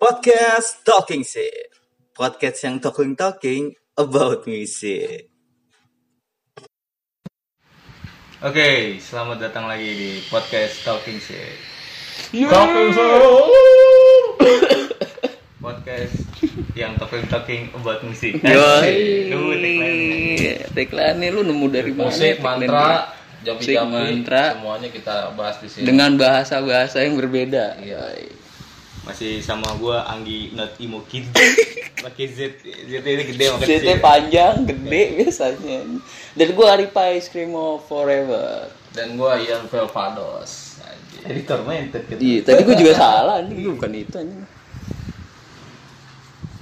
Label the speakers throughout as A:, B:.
A: podcast Talking Shit. Podcast yang talking talking about music.
B: Oke, selamat datang lagi di podcast Talking Shit. Podcast yang talking talking about musik. Asik. Nemu tagline-nya.
C: Teklan nih lu nemu dari mana?
D: musik,
C: tagline ini?
D: mantra, jambi
C: Musik,
D: jambi,
C: mantra.
D: semuanya kita bahas di sini.
C: dengan bahasa-bahasa yang berbeda.
D: Iya.
C: Yoi.
B: Masih sama gua Anggi Not Imo Kid. Pakai Z, Z ini gede makan
C: Ceritanya panjang, gede biasanya. Dan gue Aripa Ice Cream of Forever.
D: Dan gua Ian Velvados. Anjir.
B: Editor main gitu.
C: Iya, tadi gue juga salah nih, gue bukan itu anjing.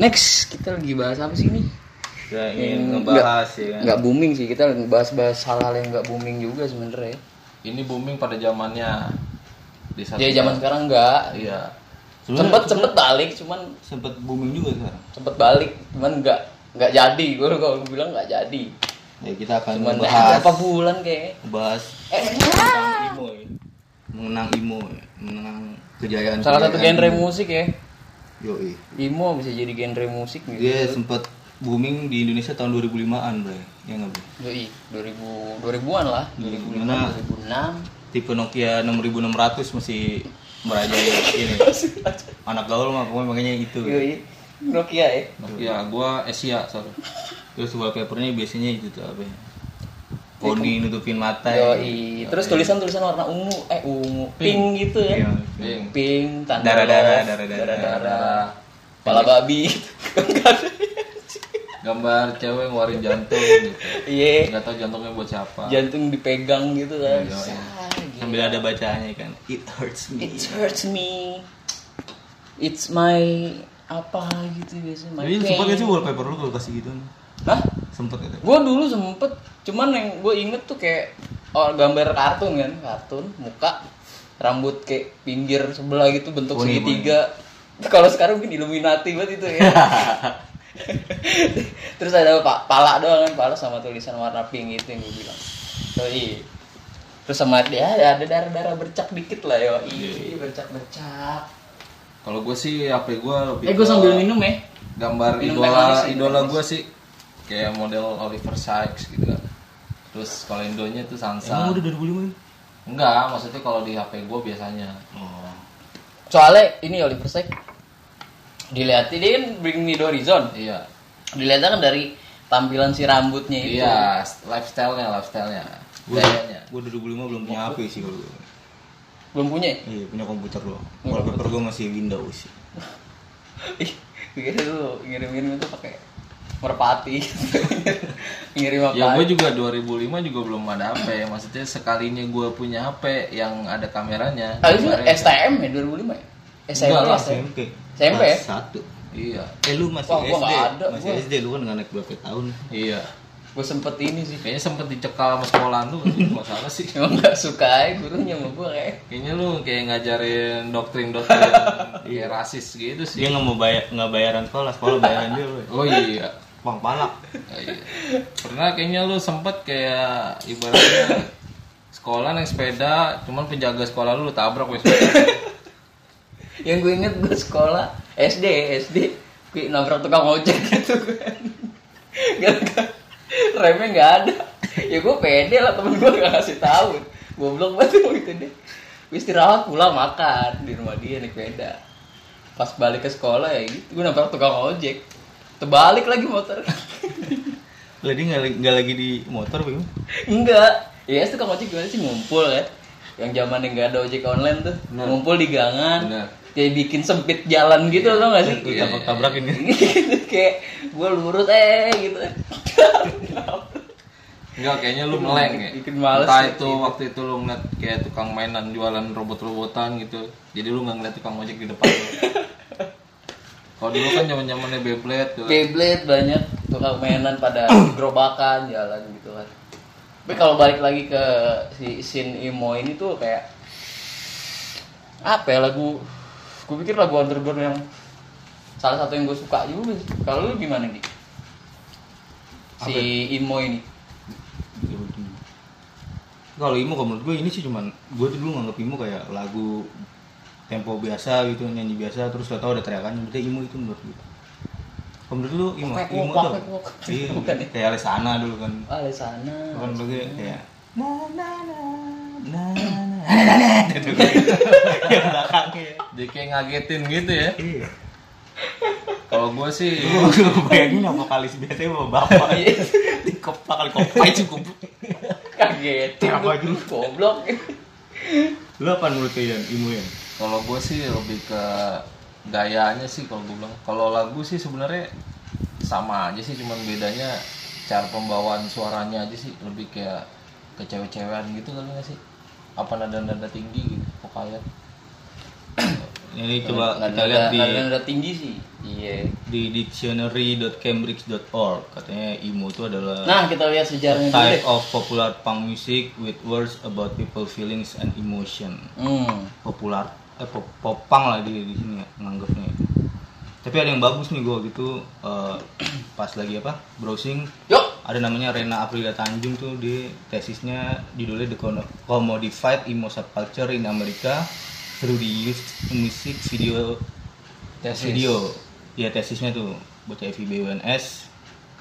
C: Next, kita lagi bahas apa sih nih?
B: Kita ingin ngebahas ya
D: iya.
B: kan.
C: Hmm, Nggak booming sih, kita lagi bahas-bahas hal-hal yang nggak booming juga sebenernya.
D: Ini booming pada zamannya. Di satu
C: Ya zaman sekarang nggak.
D: Iya.
C: Sempet sempet balik, cuman
B: Sempet booming juga sekarang.
C: sempet balik, cuman nggak nggak jadi. Gue kalau bilang nggak jadi.
B: Ya kita akan
C: Cuman
B: ngebahas
C: berapa bulan kayaknya. Eh,
B: ngebahas tentang emo ya. Mengenang emo, ya. mengenang kejayaan.
C: Salah satu genre musik ya.
B: Yoi.
C: Emo bisa jadi genre musik gitu.
B: Dia
D: Iya.
B: sempat booming di Indonesia tahun 2005-an, Bro. Ya nggak, Bro?
C: Yoi, 2000 2000-an lah, 2005,
B: Nah.
C: 2006.
B: Tipe Nokia 6600 masih merajai ini. Anak gaul mah pokoknya makanya itu.
C: Yoi. Nokia ya.
D: Nokia, gua Asia, sorry.
B: Terus wallpapernya biasanya itu tuh apa ya?
C: Iya.
B: Poni nutupin mata. ya.
C: Yoi. Terus tulisan-tulisan warna ungu, eh ungu, pink, gitu ya.
B: Iya.
D: Pink.
C: Pink, tanda
B: Darah-darah,
C: love,
B: darah-darah.
C: darah-darah. Kepala babi. Enggak ada.
D: Gambar cewek ngeluarin jantung gitu.
C: Iya.
D: Enggak tahu jantungnya buat siapa.
C: Jantung dipegang gitu kan.
D: Yoi.
C: Sah, gitu.
B: Sambil ada bacaannya kan. It hurts me.
C: It hurts me. It's my apa gitu biasanya. My
B: Jadi sempat
C: pain.
B: gak sih wallpaper lu kalau kasih gitu?
C: Hah?
B: Sempet ya?
C: gue dulu sempet cuman yang gue inget tuh kayak oh, gambar kartun kan kartun muka rambut kayak pinggir sebelah gitu bentuk
B: Poni,
C: segitiga
B: iya.
C: kalau sekarang mungkin illuminati banget itu ya terus ada pak pala doang kan pala sama tulisan warna pink itu yang gue bilang so, iya. terus sama dia ya, ada darah darah bercak dikit lah ya iya bercak bercak
D: Kalau gua sih HP gua lebih
C: eh gue
D: ke
C: sambil minum ya
D: gambar
C: Minum teh manis
D: idola
C: sih,
D: idola
C: teh
D: gua sih kayak model Oliver Sykes gitu. Terus kalau Indonya itu Sansa.
B: Emang udah 2005 ya?
D: Enggak, maksudnya kalau di HP gue biasanya.
B: Oh.
C: soalnya ini Oliver Sykes dilihatin dia kan Bring Me The Horizon
D: Iya.
C: dilihatnya kan dari tampilan si rambutnya itu
D: Iya, lifestyle-nya, lifestyle-nya.
B: Gue
D: Gayanya.
B: gue 2005 belum punya HP sih kalau gue.
C: belum punya ya?
B: Iya punya komputer doang. Wallpaper gue masih Windows sih.
C: ih pikir tuh ngirim-ngirim itu pakai merpati ngirim apa
D: Ya gue juga 2005 juga belum ada HP. Maksudnya sekalinya gue punya HP yang ada kameranya.
C: Ah, itu
D: gambarnya.
C: STM ya 2005 ya SMP
D: Enggak lah,
C: STM.
B: SMP.
C: SMP ya?
B: Kelas Satu.
D: Iya.
B: Eh lu masih
C: Wah, gua
B: SD.
C: nggak ada,
B: masih
C: gua.
B: SD lu kan nggak naik berapa tahun.
D: Iya.
C: gue sempet ini sih
D: Kayaknya sempet dicekal sama sekolahan lu sih, masalah sih.
C: emang gak suka aja gurunya sama gue kayak
D: Kayaknya lu kayak ngajarin doktrin-doktrin kayak rasis gitu sih.
B: Dia nggak mau bayar nggak bayaran sekolah, sekolah bayaran dia lu.
D: Oh iya.
B: Bang palak.
D: Oh, iya. Pernah kayaknya lu sempet kayak ibaratnya sekolah naik sepeda, cuman penjaga sekolah lu, lu tabrak wes.
C: yang gue inget gue sekolah SD SD gue nabrak tukang ojek gitu kan gara remnya nggak ada ya gue pede lah temen gue nggak ngasih tahu goblok banget waktu itu deh gue istirahat pulang makan di rumah dia naik beda pas balik ke sekolah ya gitu gue nabrak tukang ojek terbalik lagi motor
B: Lah dia nggak nggak lagi di motor bagaimana?
C: enggak ya itu tukang ojek gimana sih ngumpul ya yang zaman yang nggak ada ojek online tuh
D: Bener.
C: ngumpul di gangan
D: Bener.
C: kayak bikin sempit jalan gitu loh nggak sih
B: Lu
D: Iya,
B: takut
D: iya,
B: tabrakin ya?
C: kayak gue lurut eh gitu
D: Enggak, kayaknya lu meleng ya.
C: Bikin males
D: Entah
C: ya,
D: itu waktu itu lu ngeliat kayak tukang mainan jualan robot-robotan gitu. Jadi lu nggak ngeliat tukang ojek di depan. lu. Kalau dulu kan zaman-zamannya Beyblade gitu kan. tuh.
C: Beyblade banyak tukang mainan pada gerobakan jalan gitu kan tapi kalau balik lagi ke si Sin Imo ini tuh kayak apa ya lagu gue pikir lagu underground yang salah satu yang gue suka juga sih. kalau lu gimana nih si Imo ini
B: Iya, Kalau Imo kalau menurut gue ini sih cuman gue tuh dulu nganggep Imo kayak lagu tempo biasa gitu nyanyi biasa terus tau tau ada teriakan berarti imo itu menurut gue kalau menurut lu imo
C: Wak, wak,
B: imo
C: wak,
B: tuh
C: wak, wak.
B: iya
C: Bukan ya?
B: kayak Alessana dulu kan
C: Ah, di sana.
B: kan lagi kayak na na na na na na na gitu kan yang belakangnya
D: Jadi kayak ngagetin gitu ya.
B: iya
D: Kalau gue sih
B: Gua- gua bayangin sama vokalis biasanya sama bapak
C: Iya.
B: dikepak kali kopai cukup
C: Kaget.
B: Apa
C: dulu goblok.
B: lu apa menurut kalian imo ya
D: kalau gue sih lebih ke gayanya sih kalau gue bilang. Kalau lagu sih sebenarnya sama aja sih cuman bedanya cara pembawaan suaranya aja sih lebih kayak ke cewek-cewekan gitu kali nggak sih? Apa nada-nada tinggi gitu vokalnya.
B: ini coba
C: Nggak
B: kita
C: ada-
B: lihat di
C: nggak ada nada tinggi sih. Iya.
B: di dictionary.cambridge.org katanya emo itu adalah
C: Nah, kita lihat sejarahnya dulu
B: type
C: deh.
B: of popular punk music with words about people feelings and emotion
C: Hmm.
B: popular eh pop, popang lah di di sini ya, menganggapnya tapi ada yang bagus nih gue gitu eh, pas lagi apa browsing
C: Yuk.
B: ada namanya Rena Aprilia Tanjung tuh di tesisnya judulnya The Con- Commodified Emo Subculture in America through the used music video
D: Tesis.
B: video ya tesisnya tuh bocah FIB UNS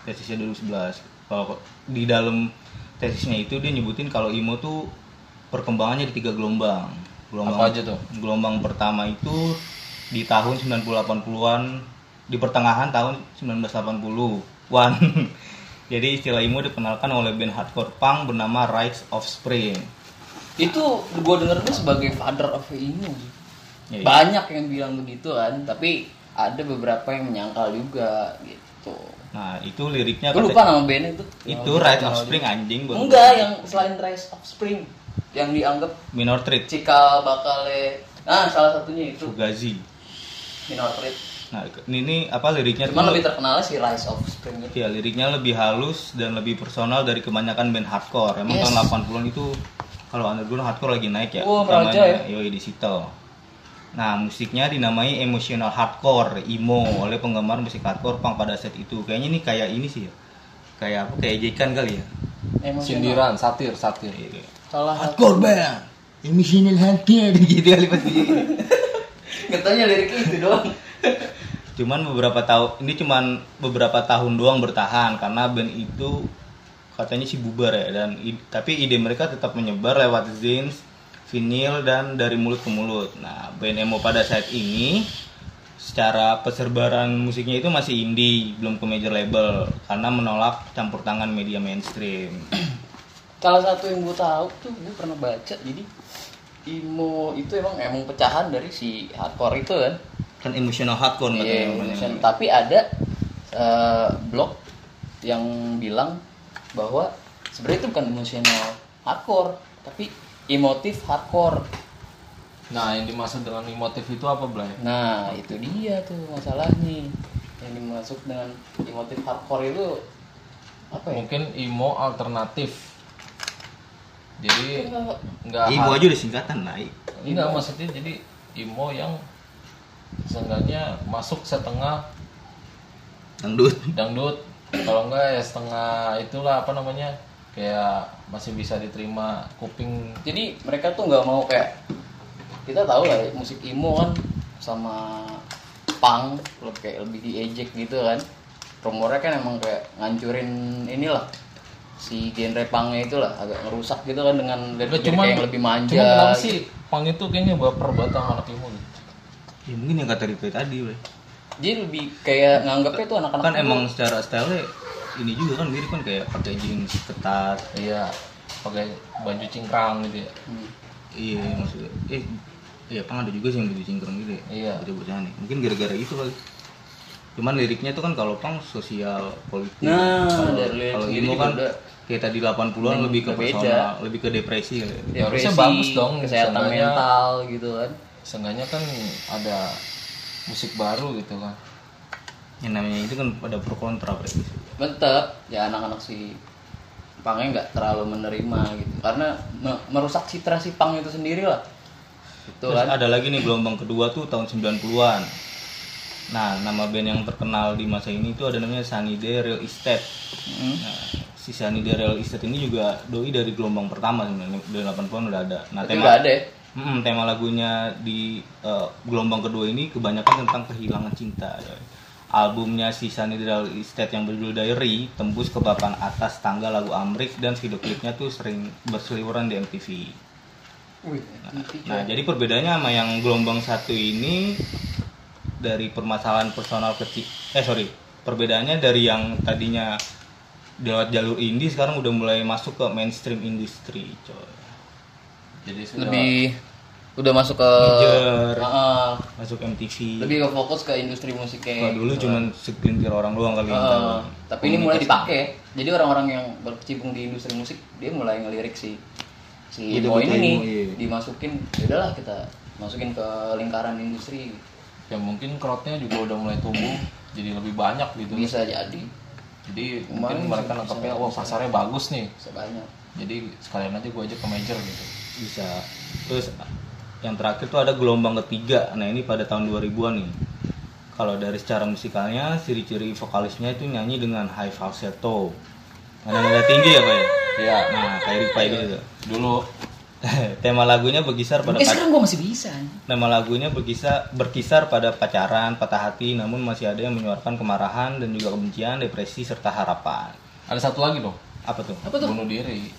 B: tesisnya 2011 kalau di dalam tesisnya itu dia nyebutin kalau IMO tuh perkembangannya di tiga gelombang gelombang
D: Apa aja tuh?
B: gelombang pertama itu di tahun 90-80-an di pertengahan tahun 1980-an jadi istilah IMO dikenalkan oleh band hardcore punk bernama Rites of Spring
C: Itu gua dengernya sebagai father of emo.
B: Ya, ya.
C: Banyak yang bilang begitu kan, tapi ada beberapa yang menyangkal juga gitu.
B: nah itu liriknya
C: Gue
B: kata-
C: lupa nama bandnya itu.
B: itu Rites of Spring anjing baru-
C: Enggak, yang selain Rise of Spring yang dianggap
B: Minor Threat
C: cikal bakale. Nah, salah satunya itu
B: Fugazi.
C: Minor Threat.
B: Nah, ke- ini, ini apa liriknya
C: Cuman
B: tuh?
C: lebih terkenalnya si Rise of Spring itu.
B: Ya, liriknya lebih halus dan lebih personal dari kebanyakan band hardcore. Emang
C: Yes.
B: tahun 80-an itu kalau underground hardcore lagi naik ya.
C: Wah,
B: utamanya,
C: meraja ya.
B: Yoi di situ. Nah, musiknya dinamai emotional hardcore, emo oleh penggemar musik hardcore punk pada saat itu. Kayaknya ini kayak ini sih ya. Kayak apa? Kayak ejekan kali ya.
C: Emosional.
D: Sindiran, satir, satir.
C: Salah satu.
B: Hardcore band. Emotional hardcore gitu kali pasti.
C: Katanya liriknya itu doang.
B: cuman beberapa tahun ini cuman beberapa tahun doang bertahan karena band itu katanya sih bubar ya dan i- tapi ide mereka tetap menyebar lewat zines, vinil dan dari mulut ke mulut. Nah, band emo pada saat ini secara persebaran musiknya itu masih indie, belum ke major label karena menolak campur tangan media mainstream.
C: Salah satu yang gue tahu tuh gue pernah baca jadi emo itu emang emang pecahan dari si hardcore itu kan.
B: Kan emotional hardcore katanya
C: Iya,
B: namanya.
C: emotion. tapi ada eh, blog yang bilang bahwa sebenarnya itu bukan emosional hardcore, tapi emotif hardcore.
D: Nah, yang dimaksud dengan emotif itu apa, Blay?
C: Nah, itu dia tuh masalahnya. Yang dimasuk dengan emotif hardcore itu apa ya?
D: Mungkin emo alternatif. Jadi nggak
B: Emo
D: har-
B: aja udah singkatan naik.
D: Enggak maksudnya jadi emo yang seenggaknya masuk setengah
B: Dangdut.
D: dangdut kalau enggak ya setengah itulah apa namanya kayak masih bisa diterima kuping
C: Jadi mereka tuh nggak mau kayak kita tahu lah ya, musik emo kan sama punk lebih kayak lebih diejek gitu kan. Rumornya kan emang kayak ngancurin inilah si genre punknya itu lah agak ngerusak gitu kan dengan
D: Enggak,
C: lirik
D: Nah, cuman
C: yang lebih manja. gitu.
D: cuman kenapa sih pang itu kayaknya baper banget sama anak emo gitu
B: Ya mungkin yang kata Rifai tadi, Bro.
C: Jadi lebih kayak nganggapnya tuh anak-anak
B: kan
C: dulu.
B: emang secara style ini juga kan mirip kan kayak pakai jeans ketat
D: iya pakai baju cingkrang gitu ya
C: Hmm.
B: iya maksudnya eh iya kan ada juga sih yang baju cingkrang gitu ya
D: Iya.
B: bocah nih mungkin gara-gara itu kali cuman liriknya tuh kan kalau pang sosial politik
C: Nah,
B: Kalau-
C: dari lirik
B: kalau
C: sendiri
B: emo
C: juga
B: kan
C: udah.
B: kayak tadi 80-an
C: Hmm,
B: lebih ke
C: udah beda.
B: personal lebih ke depresi kali ya.
D: Ya, harusnya
C: Depresi,
D: bagus dong,
C: kesehatan
D: seenggaknya.
C: mental gitu kan.
D: seenggaknya kan ada musik baru gitu kan
B: yang namanya itu kan ada pro kontra Bro.
C: tetap ya anak-anak si pangnya nggak terlalu menerima gitu karena me- merusak citra si pang itu sendiri lah itu
B: Terus
C: kan
B: ada lagi nih gelombang kedua tuh tahun 90-an. Nah, nama band yang terkenal di masa ini itu ada namanya Sunny Day Real Estate.
C: Hmm.
B: Nah, si Sunny Day Real Estate ini juga doi dari gelombang pertama sebenarnya dari 80-an udah ada. Nah,
C: tapi nggak ada ya
B: Mm-mm, tema lagunya di eh, gelombang kedua ini kebanyakan tentang kehilangan cinta. Albumnya si Sunny Real Estate yang berjudul Diary tembus ke papan atas tangga lagu Amrik dan video klipnya tuh sering berseliweran di MTV.
C: Wih,
B: Nah, jadi perbedaannya sama yang gelombang satu ini dari permasalahan personal kecil. Eh, sorry. Perbedaannya dari yang tadinya lewat jalur indie sekarang udah mulai masuk ke mainstream industri, coy.
D: Jadi sudah
C: lebih udah masuk ke
B: Major,
C: Heeh.
B: masuk MTV.
C: lebih ke fokus ke industri musiknya
B: Kalau dulu cuman segelintir orang doang kali yang tahu.
C: Heeh. ah. tapi ini mulai dipakai ya. jadi orang-orang yang berkecimpung di industri musik dia mulai ngelirik si si
B: Gitu,
C: poin
B: gitu,
C: ini
B: iya.
C: dimasukin ya udahlah kita masukin ke lingkaran industri
D: ya mungkin crowdnya juga udah mulai tumbuh jadi lebih banyak gitu
C: bisa jadi
D: jadi
C: Kemarin
D: mungkin mereka
C: bisa-
D: nangkepnya
C: bisa-
D: wah
C: bisa.
D: pasarnya bagus nih
C: sebanyak
D: jadi sekalian aja gue ajak ke major gitu
B: bisa. Terus yang terakhir tuh ada gelombang ketiga. Nah, ini pada tahun 2000-an nih. Kalau dari secara musikalnya, ciri-ciri vokalisnya itu nyanyi dengan high falsetto. Nada-nada tinggi ya, Pak ya?
D: Iya.
B: Nah, kayak Ripa gitu.
D: dulu
B: Tema lagunya berkisar pada
C: eh sekarang gua masih bisa
B: Nama lagunya berkisar, berkisar pada pacaran, patah hati, namun masih ada yang menyuarakan kemarahan dan juga kebencian, depresi, serta harapan.
D: ada satu lagi dong
B: Apa tuh?
C: apa tuh
D: bunuh diri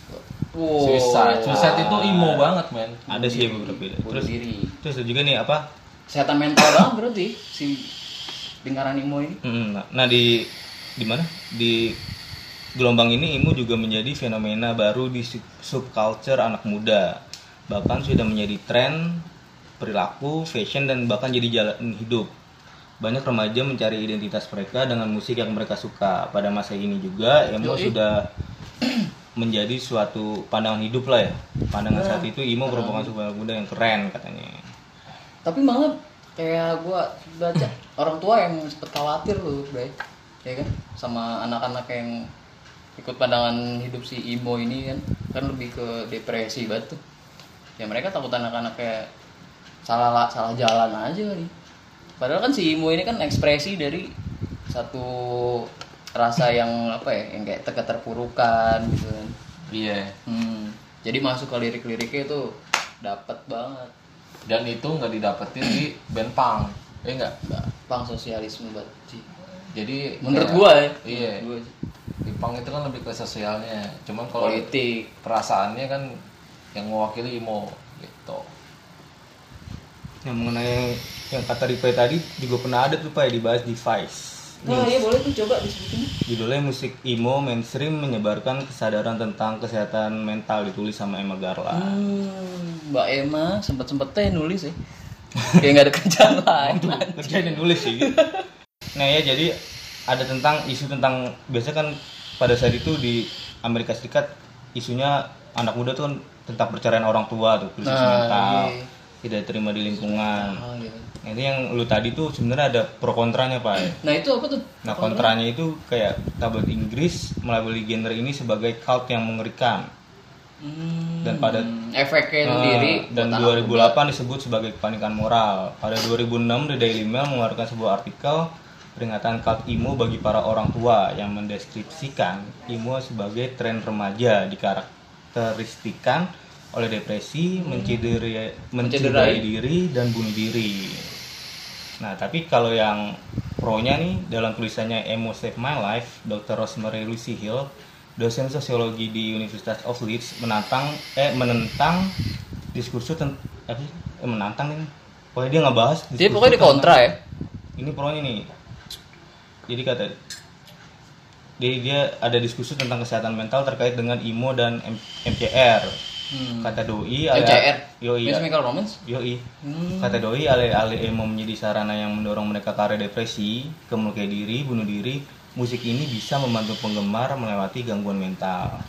C: wow.
D: suicide suicide itu emo banget men
B: Ada sih beberapa beda.
C: Bunuh
B: Terus,
C: diri
B: terus ada juga nih apa?
C: kesehatan mental banget berarti si lingkaran emo ini
B: Mm, nah- Nah di di mana? Di gelombang ini IMU juga menjadi fenomena baru di sub- subculture anak muda. Bahkan sudah menjadi tren perilaku, fashion dan bahkan jadi jalan hidup. Banyak remaja mencari identitas mereka dengan musik yang mereka suka. Pada masa ini juga IMU sudah menjadi suatu pandangan hidup lah ya. Pandangan saat itu IMU merupakan sebuah anak muda yang keren katanya.
C: tapi malah kayak gua baca orang tua yang sempet khawatir loh Bray ya kan sama anak-anak yang ikut pandangan hidup si Imo ini kan kan lebih ke depresi banget tuh ya mereka takut anak-anak kayak salah salah jalan aja kali padahal kan si Imo ini kan ekspresi dari satu rasa yang apa ya yang kayak teka terpurukan gitu kan
D: iya
C: hmm. jadi masuk ke lirik-liriknya itu dapat banget
D: dan itu nggak didapetin di band punk eh enggak
C: pang sosialisme banget sih.
D: jadi
C: Menurut
D: kayak-
C: gua ya.
D: iya
C: Menurut gua sih.
D: di punk itu kan lebih ke sosialnya cuman kalau
C: politik.
D: perasaannya kan yang mewakili emo gitu
B: Yang mengenai yang kata Ripe tadi juga pernah ada tuh Pak ya, dibahas di Vice.
C: Nah, iya boleh tuh coba disebutin.
B: Judulnya musik emo mainstream menyebarkan kesadaran tentang kesehatan mental ditulis sama Emma Garland.
C: Hmm, Mbak Emma sempet sempetnya nulis ya. Kayak nggak ada kerjaan lain.
B: Kerjain yang nulis sih. nah ya jadi ada tentang isu tentang biasanya kan pada saat itu di Amerika Serikat isunya anak muda tuh kan tentang perceraian orang tua tuh krisis
C: Nah,
B: mental
C: iya.
B: tidak terima di lingkungan.
C: Oh, iya.
B: Nah, itu yang lu tadi tuh sebenarnya ada pro kontranya pak. ya.
C: Nah itu apa tuh?
B: Nah kontranya itu kayak tabloid Inggris melabeli genre ini sebagai cult yang mengerikan
C: Hmm,
B: dan pada Nah,
C: efeknya sendiri.
B: dan
C: buat anak
B: 2008 disebut sebagai kepanikan moral. Pada 2006 The Daily Mail mengeluarkan sebuah artikel peringatan cult emo bagi para orang tua yang mendeskripsikan emo sebagai tren remaja dikarakteristikan oleh depresi, mencederai, mencederai
C: Hmm. Mencederai.
B: diri dan bunuh diri. Nah, tapi kalau yang pro-nya nih dalam tulisannya Emo Save My Life, Dr. Rosemary Lucy Hill, dosen sosiologi di Universitas of Leeds menantang eh menentang diskursus tentang apa sih? eh, menantang ini. Pokoknya dia nggak bahas
C: Dia pokoknya di kontra ya.
B: ini pro-nya nih. Jadi kata jadi dia ada diskusi tentang kesehatan mental terkait dengan IMO dan M- MCR.
C: Hmm.
B: Kata doi ada-
C: MCR.
B: Yoi.
C: Miss Michael Romance.
B: Yoi. Kata Doi, alih-alih emo menjadi sarana yang mendorong mereka ke arah depresi, ke melukai diri, bunuh diri, musik ini bisa membantu penggemar melewati gangguan mental.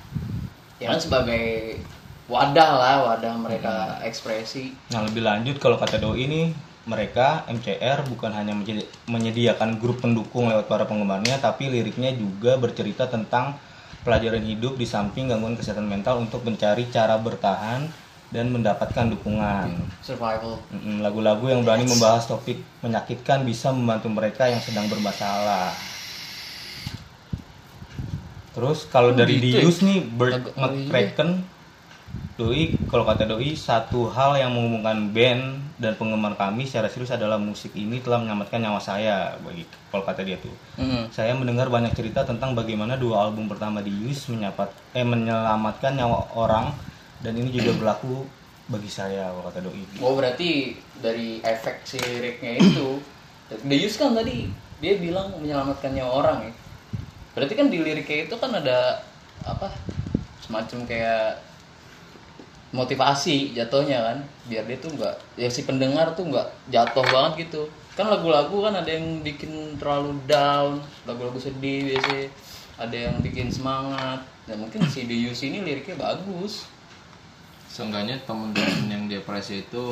C: Ya kan sebagai wadah lah, wadah mereka ekspresi.
B: Nah, lebih lanjut kalau kata Doi ini, mereka MCR bukan hanya menjadi- menyediakan grup pendukung lewat para penggemarnya, tapi liriknya juga bercerita tentang pelajaran hidup di samping gangguan kesehatan mental untuk mencari cara bertahan dan mendapatkan dukungan.
C: Survival.
B: Mm, Lagu-lagu yang berani membahas topik menyakitkan bisa membantu mereka yang sedang bermasalah. Terus kalau dari
C: gitu ya?
B: Dius nih, Bert
C: gitu Lagu- oh iya.
B: McCracken Doi, kalau kata Doi, satu hal yang menghubungkan band dan penggemar kami secara serius adalah musik ini telah menyelamatkan nyawa saya, bagi kalau kata dia tuh.
C: Hmm.
B: Saya mendengar banyak cerita tentang bagaimana dua album pertama di Yus menyapat, eh, menyelamatkan nyawa orang dan ini juga berlaku bagi saya, kalau kata Doi.
C: Oh berarti dari efek si liriknya itu Deus kan tadi dia bilang menyelamatkan nyawa orang ya Berarti kan di liriknya itu kan ada apa semacam kayak motivasi jatuhnya kan biar dia tuh nggak ya si pendengar tuh nggak jatuh banget gitu kan lagu-lagu kan ada yang bikin terlalu down lagu-lagu sedih biasanya ada yang bikin semangat dan mungkin si Deus ini liriknya bagus
D: Seenggaknya temen-temen yang depresi itu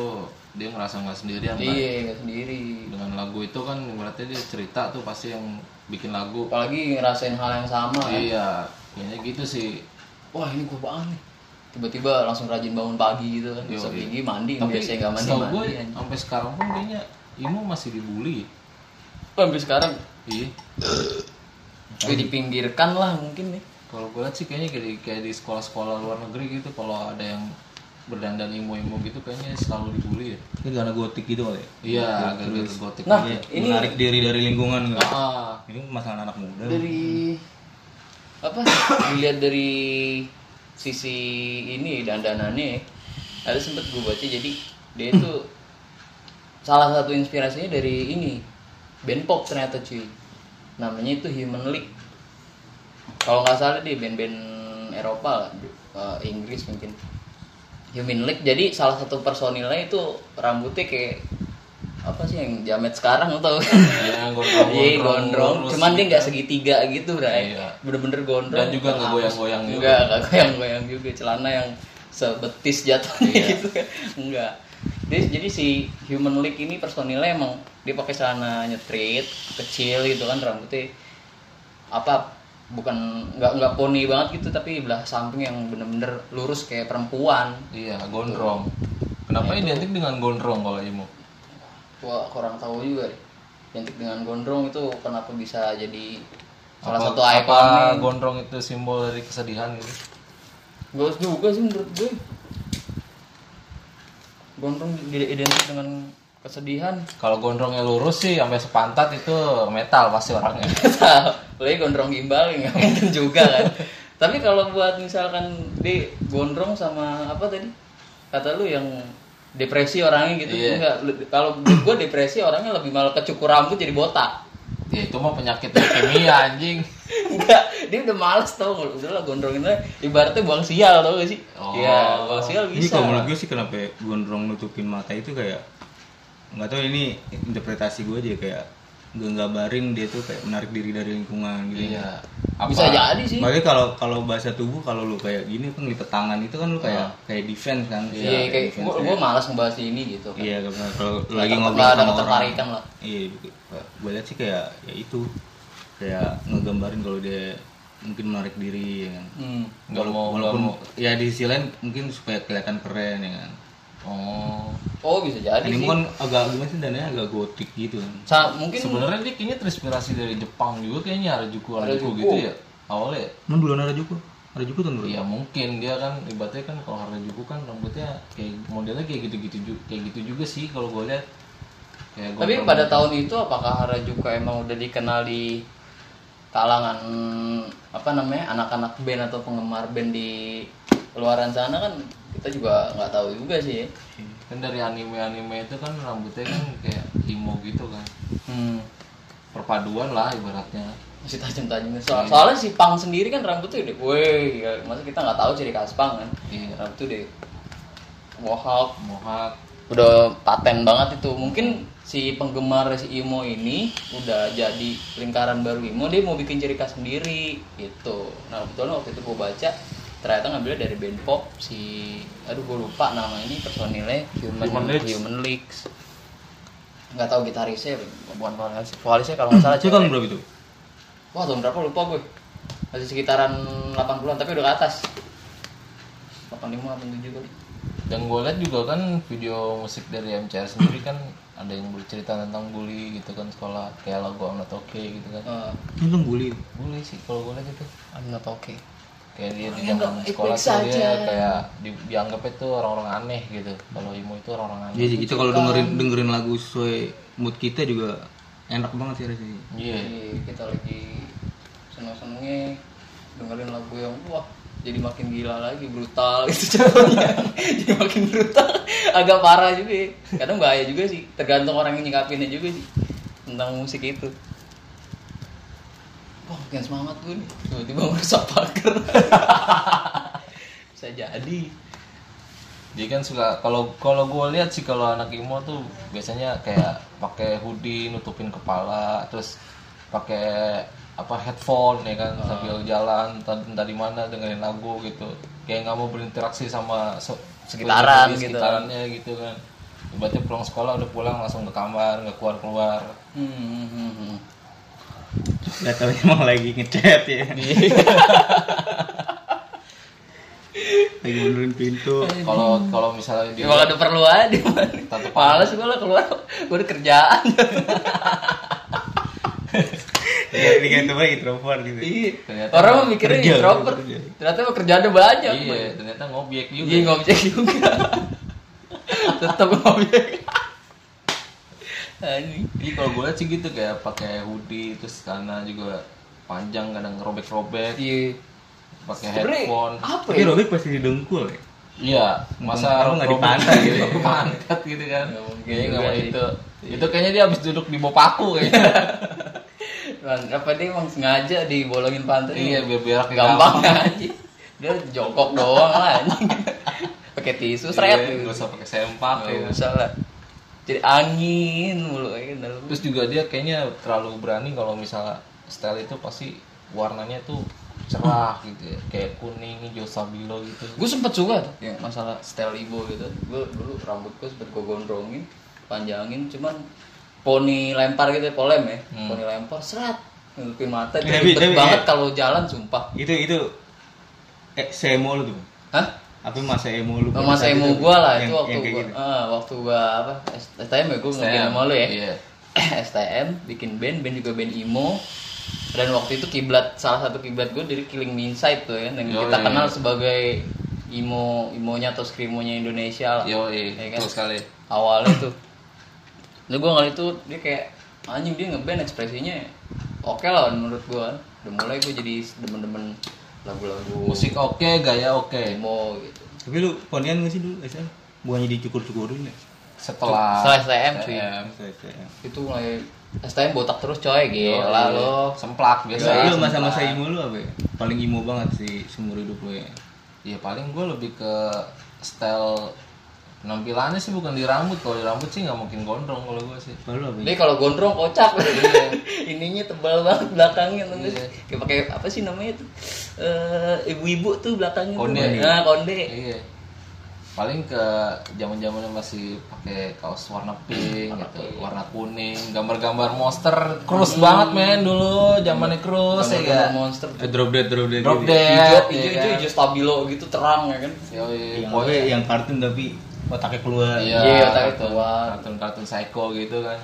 D: dia ngerasa nggak sendirian kan?
C: iya nggak sendiri
D: Dengan lagu itu kan berarti dia cerita tuh pasti yang bikin lagu.
C: apalagi ngerasain hal yang sama Oh, kan.
D: Iya, kayaknya gitu sih.
C: wah ini gue banget nih tiba-tiba langsung rajin bangun pagi gitu kan bisa
D: Yoi.
C: tinggi mandi yang
D: Tapi
C: biasanya nggak mandi Iya.
D: setahu ya. gue
C: mandi anjing.
D: sampai sekarang pun kayaknya Imo masih dibully.
C: Wah, sampai sekarang
D: Iya.
C: gue dipinggirkan lah mungkin nih
D: Kalau gue lihat sih kayaknya kayak di, kayak di sekolah-sekolah luar negeri gitu kalau ada yang berdandan imo-imo gitu kayaknya selalu dibully ya.
B: Ini karena gotik gitu kali ya?
D: Iya, agak-agak gotik.
C: nah
B: Iya,
C: ini
B: menarik diri dari lingkungan nggak?
D: Ah,
B: Ini masalah anak muda.
C: dari apa dilihat dari sisi ini dandanannya ada sempet gue baca jadi dia itu salah satu inspirasinya dari ini band pop ternyata cuy namanya itu Human League kalau nggak salah deh band-band Eropa lah, eh, Inggris mungkin Human League jadi salah satu personilnya itu rambutnya kayak apa sih yang jamet sekarang atau
D: yang
C: Iya gondrong,
D: lurus
C: cuman dia
D: gitu.
C: nggak segitiga gitu, Bray.
D: Iya.
C: Bener-bener gondrong.
D: dan juga nggak goyang-goyang gitu.
C: Enggak, enggak goyang-goyang juga celana yang sebetis jatuhnya
D: Iya.
C: gitu kan. Enggak. Jadi, jadi si Human League ini personilnya emang dia pakai celana nyetrit, kecil gitu kan rambutnya apa bukan nggak nggak poni banget gitu tapi belah samping yang bener-bener lurus kayak perempuan
D: Iya, gondrong.
C: Nah,
D: Kenapa identik dengan gondrong kalau Imo?
C: Wah, kurang tahu juga deh. Identik dengan gondrong itu kenapa bisa jadi salah
D: Apa-
C: satu
D: apa
C: ikon
D: gondrong itu simbol dari kesedihan gitu.
C: Gak usah juga sih menurut gue. Gondrong tidak identik dengan kesedihan.
D: Kalau gondrongnya lurus sih sampai sepantat itu metal pasti orangnya.
C: Boleh gondrong gimbal ya nggak mungkin juga kan. Tapi kalau buat misalkan di gondrong sama apa tadi? Kata lu yang depresi orangnya gitu
D: Iya.
C: enggak. Lu- Kalau menurut gue depresi orangnya lebih malah kecukur rambut jadi botak.
D: ya itu mah penyakit leukemia anjing.
C: Enggak, dia udah males tau nggak? Udah lah gondrongin aja. Ibaratnya buang sial tau gak sih?
D: Oh.
C: Iya, buang sial
B: Ini
C: bisa.
B: kalau menurut gue sih kenapa ya gondrong nutupin mata itu kayak nggak tahu ini interpretasi gue aja kayak nggak ngabarin dia tuh kayak menarik diri dari lingkungan gitu.
D: Iya. Apa?
C: Bisa jadi sih.
B: Makanya kalau kalau bahasa tubuh kalau lu kayak gini kan lipat tangan itu kan lu kayak kayak defense kan.
C: Ah. Iya, kayak gue gue malas ngebahas ini gitu.
B: Iya, kalau- kalau lagi
C: Tetap
B: ngobrol
C: nggak ada
B: sama orang.
C: ketertarikan lah.
B: Iya, gue lihat sih kayak ya itu kayak ngegambarin kalau dia mungkin menarik diri ya kan.
C: Hmm.
D: Nggak mau nggak
B: Walaupun
D: mau.
B: ya di sisi lain mungkin supaya kelihatan keren ya kan.
D: Oh.
C: Oh bisa jadi
B: Anime
C: sih.
B: kan agak gimana sih dananya agak gotik gitu kan.
C: Sa- mungkin
D: Sebenarnya dia kayaknya terinspirasi dari Jepang juga kayaknya Harajuku Harajuku
C: Harajuku.
D: gitu ya. Awalnya
B: Emang duluan Harajuku? Harajuku tahun berapa?
D: ya mungkin dia kan ibaratnya kan kalau Harajuku kan rambutnya kayak modelnya kayak gitu-gitu ju- kayak gitu juga sih kalau gue lihat. Kayak
C: tapi
D: gondrong.
C: pada tahun itu apakah Harajuku emang udah dikenal di kalangan apa namanya anak-anak band atau penggemar band di luaran sana kan kita juga nggak tahu juga sih. ya.
D: kan dari anime-anime itu kan rambutnya kan kayak emo gitu kan.
C: Hmm.
D: Perpaduan lah ibaratnya.
C: Masih tajam-tajamnya. So- soalnya si Pang sendiri kan rambutnya udah, woi, ya, masa kita nggak tahu ciri khas Pang kan?
D: Iya.
C: Rambutnya udah mohawk,
D: Mohawk
C: udah paten banget itu mungkin si penggemar si Imo ini udah jadi lingkaran baru Imo dia mau bikin ciri khas sendiri gitu nah kebetulan waktu itu gue baca ternyata ngambilnya dari band pop si aduh gue lupa nama ini personilnya Human
D: Human Leagues.
C: Human Leagues nggak tahu gitarisnya bukan vokalisnya vokalisnya kalau nggak salah
B: Itu tahun
C: cewek.
B: berapa itu?
C: wah tahun berapa lupa gue masih sekitaran 80-an tapi udah ke atas 85 87 kali
D: dan gue lihat juga kan video musik dari MCR sendiri kan ada yang bercerita tentang bully gitu kan sekolah kayak lagu I'm Not Okay gitu kan
C: Eh,
B: Ini tahun bully.
D: bully sih kalau gue lihat itu
C: I'm not okay
D: kayak kayak dia di
C: Orangnya
D: zaman
C: nggak
D: sekolah
C: baik-baik
D: tuh dia
C: saja.
D: kayak di, dianggapnya tuh orang-orang aneh gitu kalau imo itu orang-orang aneh
B: Jadi Iya kita kalau dengerin dengerin lagu sesuai mood kita juga enak banget sih rasanya.
D: iya
C: Jadi kita lagi seneng-senengnya dengerin lagu yang wah jadi makin gila lagi brutal gitu contohnya jadi makin brutal agak parah juga ya. kadang bahaya juga sih tergantung orang yang nyikapinnya juga sih tentang musik itu wah makin semangat gue nih tiba-tiba merusak pagar bisa jadi
D: dia kan suka kalau kalau gue lihat sih kalau anak imo tuh biasanya kayak pakai hoodie nutupin kepala terus pakai apa headphone ya kan
C: Ah.
D: sambil jalan entah, entah di mana dengerin lagu gitu kayak nggak mau berinteraksi sama se-
C: Sekitaran
D: sekeliling,
C: gitu.
D: sekitarannya gitu kan berarti pulang sekolah udah pulang langsung ke kamar nggak keluar keluar
C: hmm, hmm, hmm, hmm.
B: Gak tau emang lagi ngechat ya. lagi benerin pintu.
C: Iya,
D: kalau kalau misalnya dia
C: Ya kalau ada perlu aja
D: Tetep
C: Males gue lah keluar Gue ada kerjaan
B: Iya, ini kan teman introvert gitu.
C: Iya.
D: Ternyata
C: Orang mah mikirnya
B: kerja,
C: introvert.
B: kerja.
C: Ternyata mah kerjaannya banyak. Boy.
D: iya ternyata ngobyek
C: Iya,
D: juga
C: nggak bisa juga. Tetap ngobjek. Ani.
D: Jadi kalau gue lihat sih gitu kayak pakai hoodie terus karena juga panjang kadang robek-robek,
C: Iya.
D: pakai
C: Sebenernya
D: headphone.
C: apa
B: Tapi
C: ya?
B: Robik pasti didengkul ya.
D: Iya, masa
B: Untung kamu nggak
D: robek
B: dipantai
D: gitu,
B: gitu.
D: pangkat gitu kan.
C: Nggak mungkin
D: Kayaknya
C: juga
D: nggak mau
C: sih. Iya.
D: itu. Itu kayaknya dia habis duduk di bawah paku kayaknya.
C: Lan, Apa dia emang sengaja dibolongin pantai?
D: iya, biar berak di
C: Gampang
D: kamar.
C: aja. Dia jongkok doang lah anjing. Pakai tisu
D: Iya,
C: seret gitu.
D: nggak usah pakai sempak.
C: Nggak
D: ya kan.
C: usah lah. Jadi angin mulu ya kan dalam.
D: Terus juga dia kayaknya terlalu berani kalau misalnya style itu pasti warnanya tuh cerah
C: Hmm.
D: gitu ya. Kayak kuning, hijau sabilo gitu.
C: gue sempet suka tuh
B: Iya.
C: yang masalah style ibo gitu gue dulu rambut gue sempet gue gondrongin panjangin cuman poni lempar gitu ya, polem ya
B: Hmm.
C: poni lempar seret nutupin mata itu
B: Iya, tapi-
C: ribet
B: tapi,
C: banget
B: iya.
C: kalau jalan sumpah
B: Itu itu eh semo lu tuh.
C: hah
B: Apa masa emo lu?
C: sama saya mau gue lah itu waktu
B: gitu kayak
C: gue
B: gitu.
C: waktu gue apa STM ya gue mungkin
D: Saya-
C: sama lu ya
D: Iya.
C: STM bikin band band juga band emo dan waktu itu kiblat salah satu kiblat gue dari Killing Me Inside tuh ya yang
D: Yo,
C: kita
D: iya.
C: kenal sebagai emo imonya atau skrimonya Indonesia lah
D: Yo, iya.
C: Iya kan?
D: Betul sekali.
C: awalnya tuh Lalu gue ngeliat tuh dia kayak anjing dia ngeband ekspresinya oke lah menurut gue udah mulai gue jadi demen-demen lagu-lagu
D: Musik oke, gaya oke.
C: emo gitu
B: Tapi lu ponian gak sih dulu SM? Bukannya dicukur-cukurin ya?
D: Setelah
C: setelah STM cuy
D: STM.
B: Masa SM.
C: itu mulai STM botak terus coy gila
D: Yoi.
C: lo
D: iya. semplak biasa.
B: Biasa lu
D: Semplak.
B: masa-masa emo lu apa ya? Paling emo banget sih seumur hidup lu ya.
D: Ya paling gue lebih ke style penampilannya sih bukan di rambut. Kalau di rambut sih nggak mungkin gondrong kalau gue sih.
B: Kalau lu apa ya?
C: Dia kalau gondrong kocak Ininya tebal banget belakangnya tuh. Gus. Kayak pakai apa sih namanya tuh? Eh, ibu-ibu tuh belakangnya tuh.
D: Konde.
C: Nah, konde.
D: Iya. Paling ke zaman-zamannya masih pakai kaos warna pink Hmm. gitu, warna kuning, gambar-gambar monster, krus banget men dulu, zamannya krus ya
C: Gambar-gambar
D: kan.
C: monster. Iya,
B: Eh, Drop dead, drop dead.
D: Drop
B: gitu.
D: dead, ya
C: Hijau, Iya. hijau,
D: kan?
C: hijau, hijau stabilo gitu terang ya kan.
D: Yoi,
B: Yang apa
D: pokoknya-
B: ya, yang kartun tapi otaknya keluar.
D: Iya,
C: Iya, otaknya
D: kartun,
C: keluar.
D: kartun-kartun psycho gitu kan.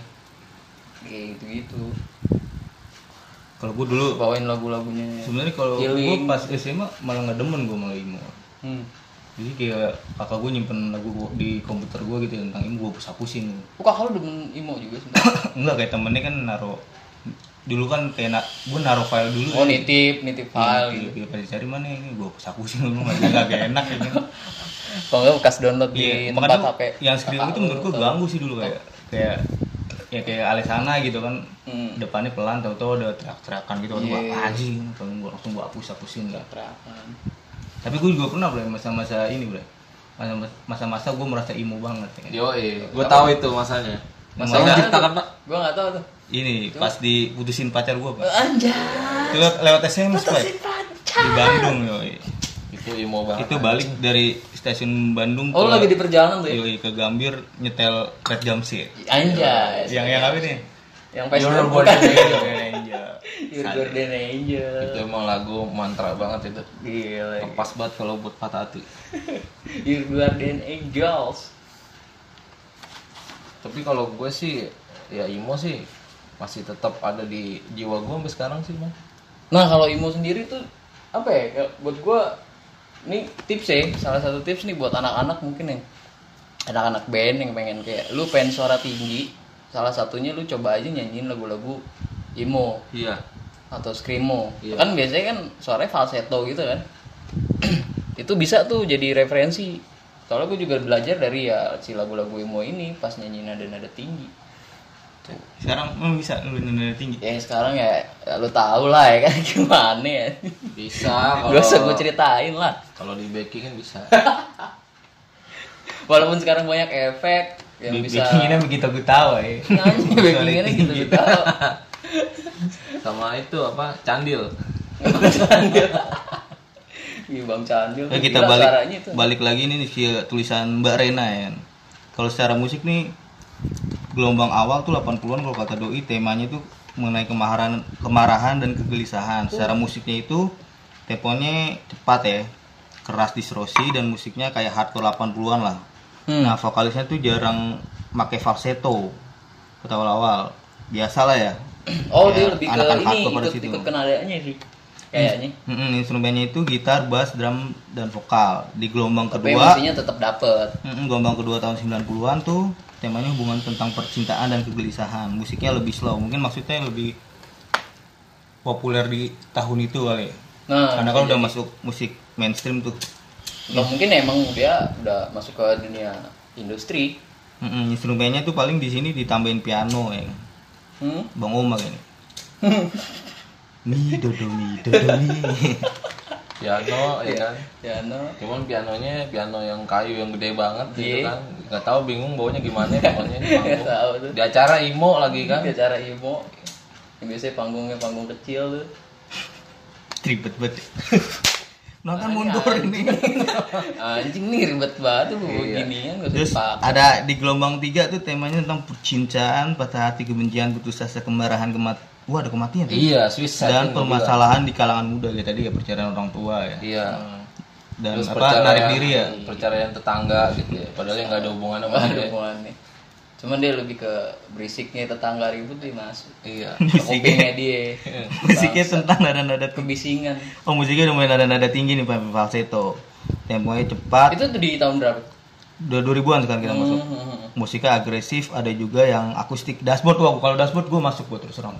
C: Kayak gitu-gitu.
B: Kalau gua dulu
C: Bawain lagu-lagunya.
B: sebenarnya kalau gua
C: Healing.
B: pas SMA malah nggak demen gua malah emo.
C: Hmm.
B: Jadi kayak kakak gua nyimpen lagu gua di komputer gua gitu tentang emo gua hapus-hapusin.
C: Oh, kakak lu demen emo juga sebenarnya.
B: Enggak kayak temennya kan naro dulu kan kayak na, gua naro file dulu. ya.
C: Oh, nitip, nitip file gitu.
B: Iya, kayak pada cari mana ini gua hapus-hapusin dulu masih agak enak ya kan.
C: Kalau nggak bekas download di
B: Iya,
C: tempat
B: makanya
C: HP.
B: yang screen itu menurut gua ganggu sih dulu kayak kayak ya kayak Alesana gitu kan
C: Hmm.
B: depannya pelan tau-tau ada teriak-teriakan gitu kan gua
C: Iya.
B: anjing kan gua langsung gua hapus-hapusin ya.
C: Terapan.
B: Tapi gua juga pernah bro masa-masa ini bro Masa- masa-masa gua merasa emo banget ya.
D: Yoi, gue tahu itu masanya.
B: Masa
D: Masanya diciptakan pak?
C: Gua nggak tahu tuh.
B: Ini pas diputusin pacar gua pak
C: Eh. Anjay.
B: Itu lewat, lewat SMS pak Di Bandung yoi.
D: Itu emo banget.
B: Itu balik dari stasiun Bandung
C: Oh, lu lagi di perjalanan tuh ya?
B: yoi, ke Gambir nyetel Red Jumpsy
C: Anjay.
B: Yang yang apa nih?
C: yang
D: You're
C: Facebook
D: a
C: bukan Your
B: Iya.
C: Golden Angel
D: Itu emang lagu mantra banget itu.
C: gila
D: Pas banget kalau buat patah hati.
C: Your Golden Angels
D: Tapi kalau gue sih ya emo sih masih tetap ada di jiwa gue sampai sekarang sih, Bang.
C: nah kalau Imo sendiri tuh apa ya kayak buat gue ini tips ya salah satu tips nih buat anak-anak mungkin yang anak-anak band yang pengen kayak lu pengen suara tinggi salah satunya lu coba aja nyanyiin lagu-lagu emo
D: Iya.
C: atau screamo
D: Iya.
C: kan biasanya kan suaranya falsetto gitu kan itu bisa tuh jadi referensi soalnya gue juga belajar dari ya si lagu-lagu emo ini pas nyanyi nada-nada tinggi
B: Sekarang emang bisa lu nada tinggi.
C: ya sekarang ya, ya lu tau lah ya kan gimana ya
D: Bisa
C: gak usah
D: kalau
C: gue ceritain lah
D: kalau di backing kan bisa.
C: walaupun sekarang banyak efek yang bisa
B: Bikinnya begitu gue tahu ya.
C: nyanyi backingannya gitu gitu
D: Sama itu apa? Candil.
C: Ih, Bang Candil
B: Oke, kita
C: gila
B: balik
C: suaranya itu.
B: balik lagi nih via tulisan Mbak Rena ya. Kalau secara musik nih gelombang awal tuh 80-an kalau kata doi temanya itu mengenai kemarahan kemarahan dan kegelisahan. Secara
C: Iya.
B: musiknya itu temponya cepat ya. Keras distorsi dan musiknya kayak hardcore 80-an lah.
C: Hmm.
B: Nah, vokalisnya tuh jarang pakai falsetto. Kata awal-awal. Biasalah ya.
C: oh dia
B: Kayak
C: lebih ke
B: anak-anak
C: ini
B: hardcore pada
C: ikut
B: situ.
C: ikut kenadanya sih kayaknya
B: Mm-mm, instrumennya itu gitar, bass, drum, dan vokal. Di gelombang
C: tapi
B: kedua,
C: emosinya tetap dapet
B: Mm, gelombang kedua tahun 90-an tuh temanya hubungan tentang percintaan dan kegelisahan. Musiknya lebih slow, mungkin maksudnya lebih populer di tahun itu kali. ya.
C: nah
B: Karena kan
C: bisa
B: udah
C: jadi.
B: masuk musik mainstream tuh.
C: Nah, mungkin emang dia udah masuk ke dunia industri
B: Mm, instrumennya tuh paling di sini ditambahin piano ya.
C: hmm?
B: Bang Omar ini. Mi do do mi do do mi.
D: Piano ya kan.
C: ya no
D: Cuman pianonya piano yang kayu yang gede banget gitu
C: Iya.
D: kan. Gak tahu bingung baunya gimana pokoknya di
C: Nggak
D: panggung.
C: tahu tuh
D: Di acara IMO lagi kan.
B: Iya.
C: Di acara Imo yang biasanya panggungnya panggung kecil tuh
B: Ribet banget. Nonton
C: Makanya.
B: mundur ini.
C: anjing nih ribet banget tuh beginian
B: Iya.
C: gak usah
B: Terus
C: dipakai
B: ada di gelombang tiga tuh temanya tentang percintaan, patah hati, kebencian, putus asa, kemarahan, kemat. Wah ada kematian. ya?
D: Iya, Swiss
B: dan permasalahan di kalangan muda ya tadi ya perceraian orang tua ya
D: Iya.
B: dan
D: Terus
B: apa
D: perceraian-
B: narik diri ya
D: Perceraian tetangga gitu ya. Padahal yang gak ada hubungan sama
C: Ada
D: dia.
C: hubungannya. Cuman dia lebih ke berisiknya tetangga ribut dia masuk.
D: Iya.
C: Kopingnya dia.
B: musiknya tentang nada-nada tinggi
C: Kebisingan.
B: oh musiknya udah main nada-nada tinggi nih pak falsetto temponya cepat
C: Itu tuh di tahun berapa?
B: udah 2000-an sekarang kita masuk
C: Hmm.
B: musiknya agresif ada juga yang akustik dashboard tuh aku kalau dashboard gue masuk gue terus terang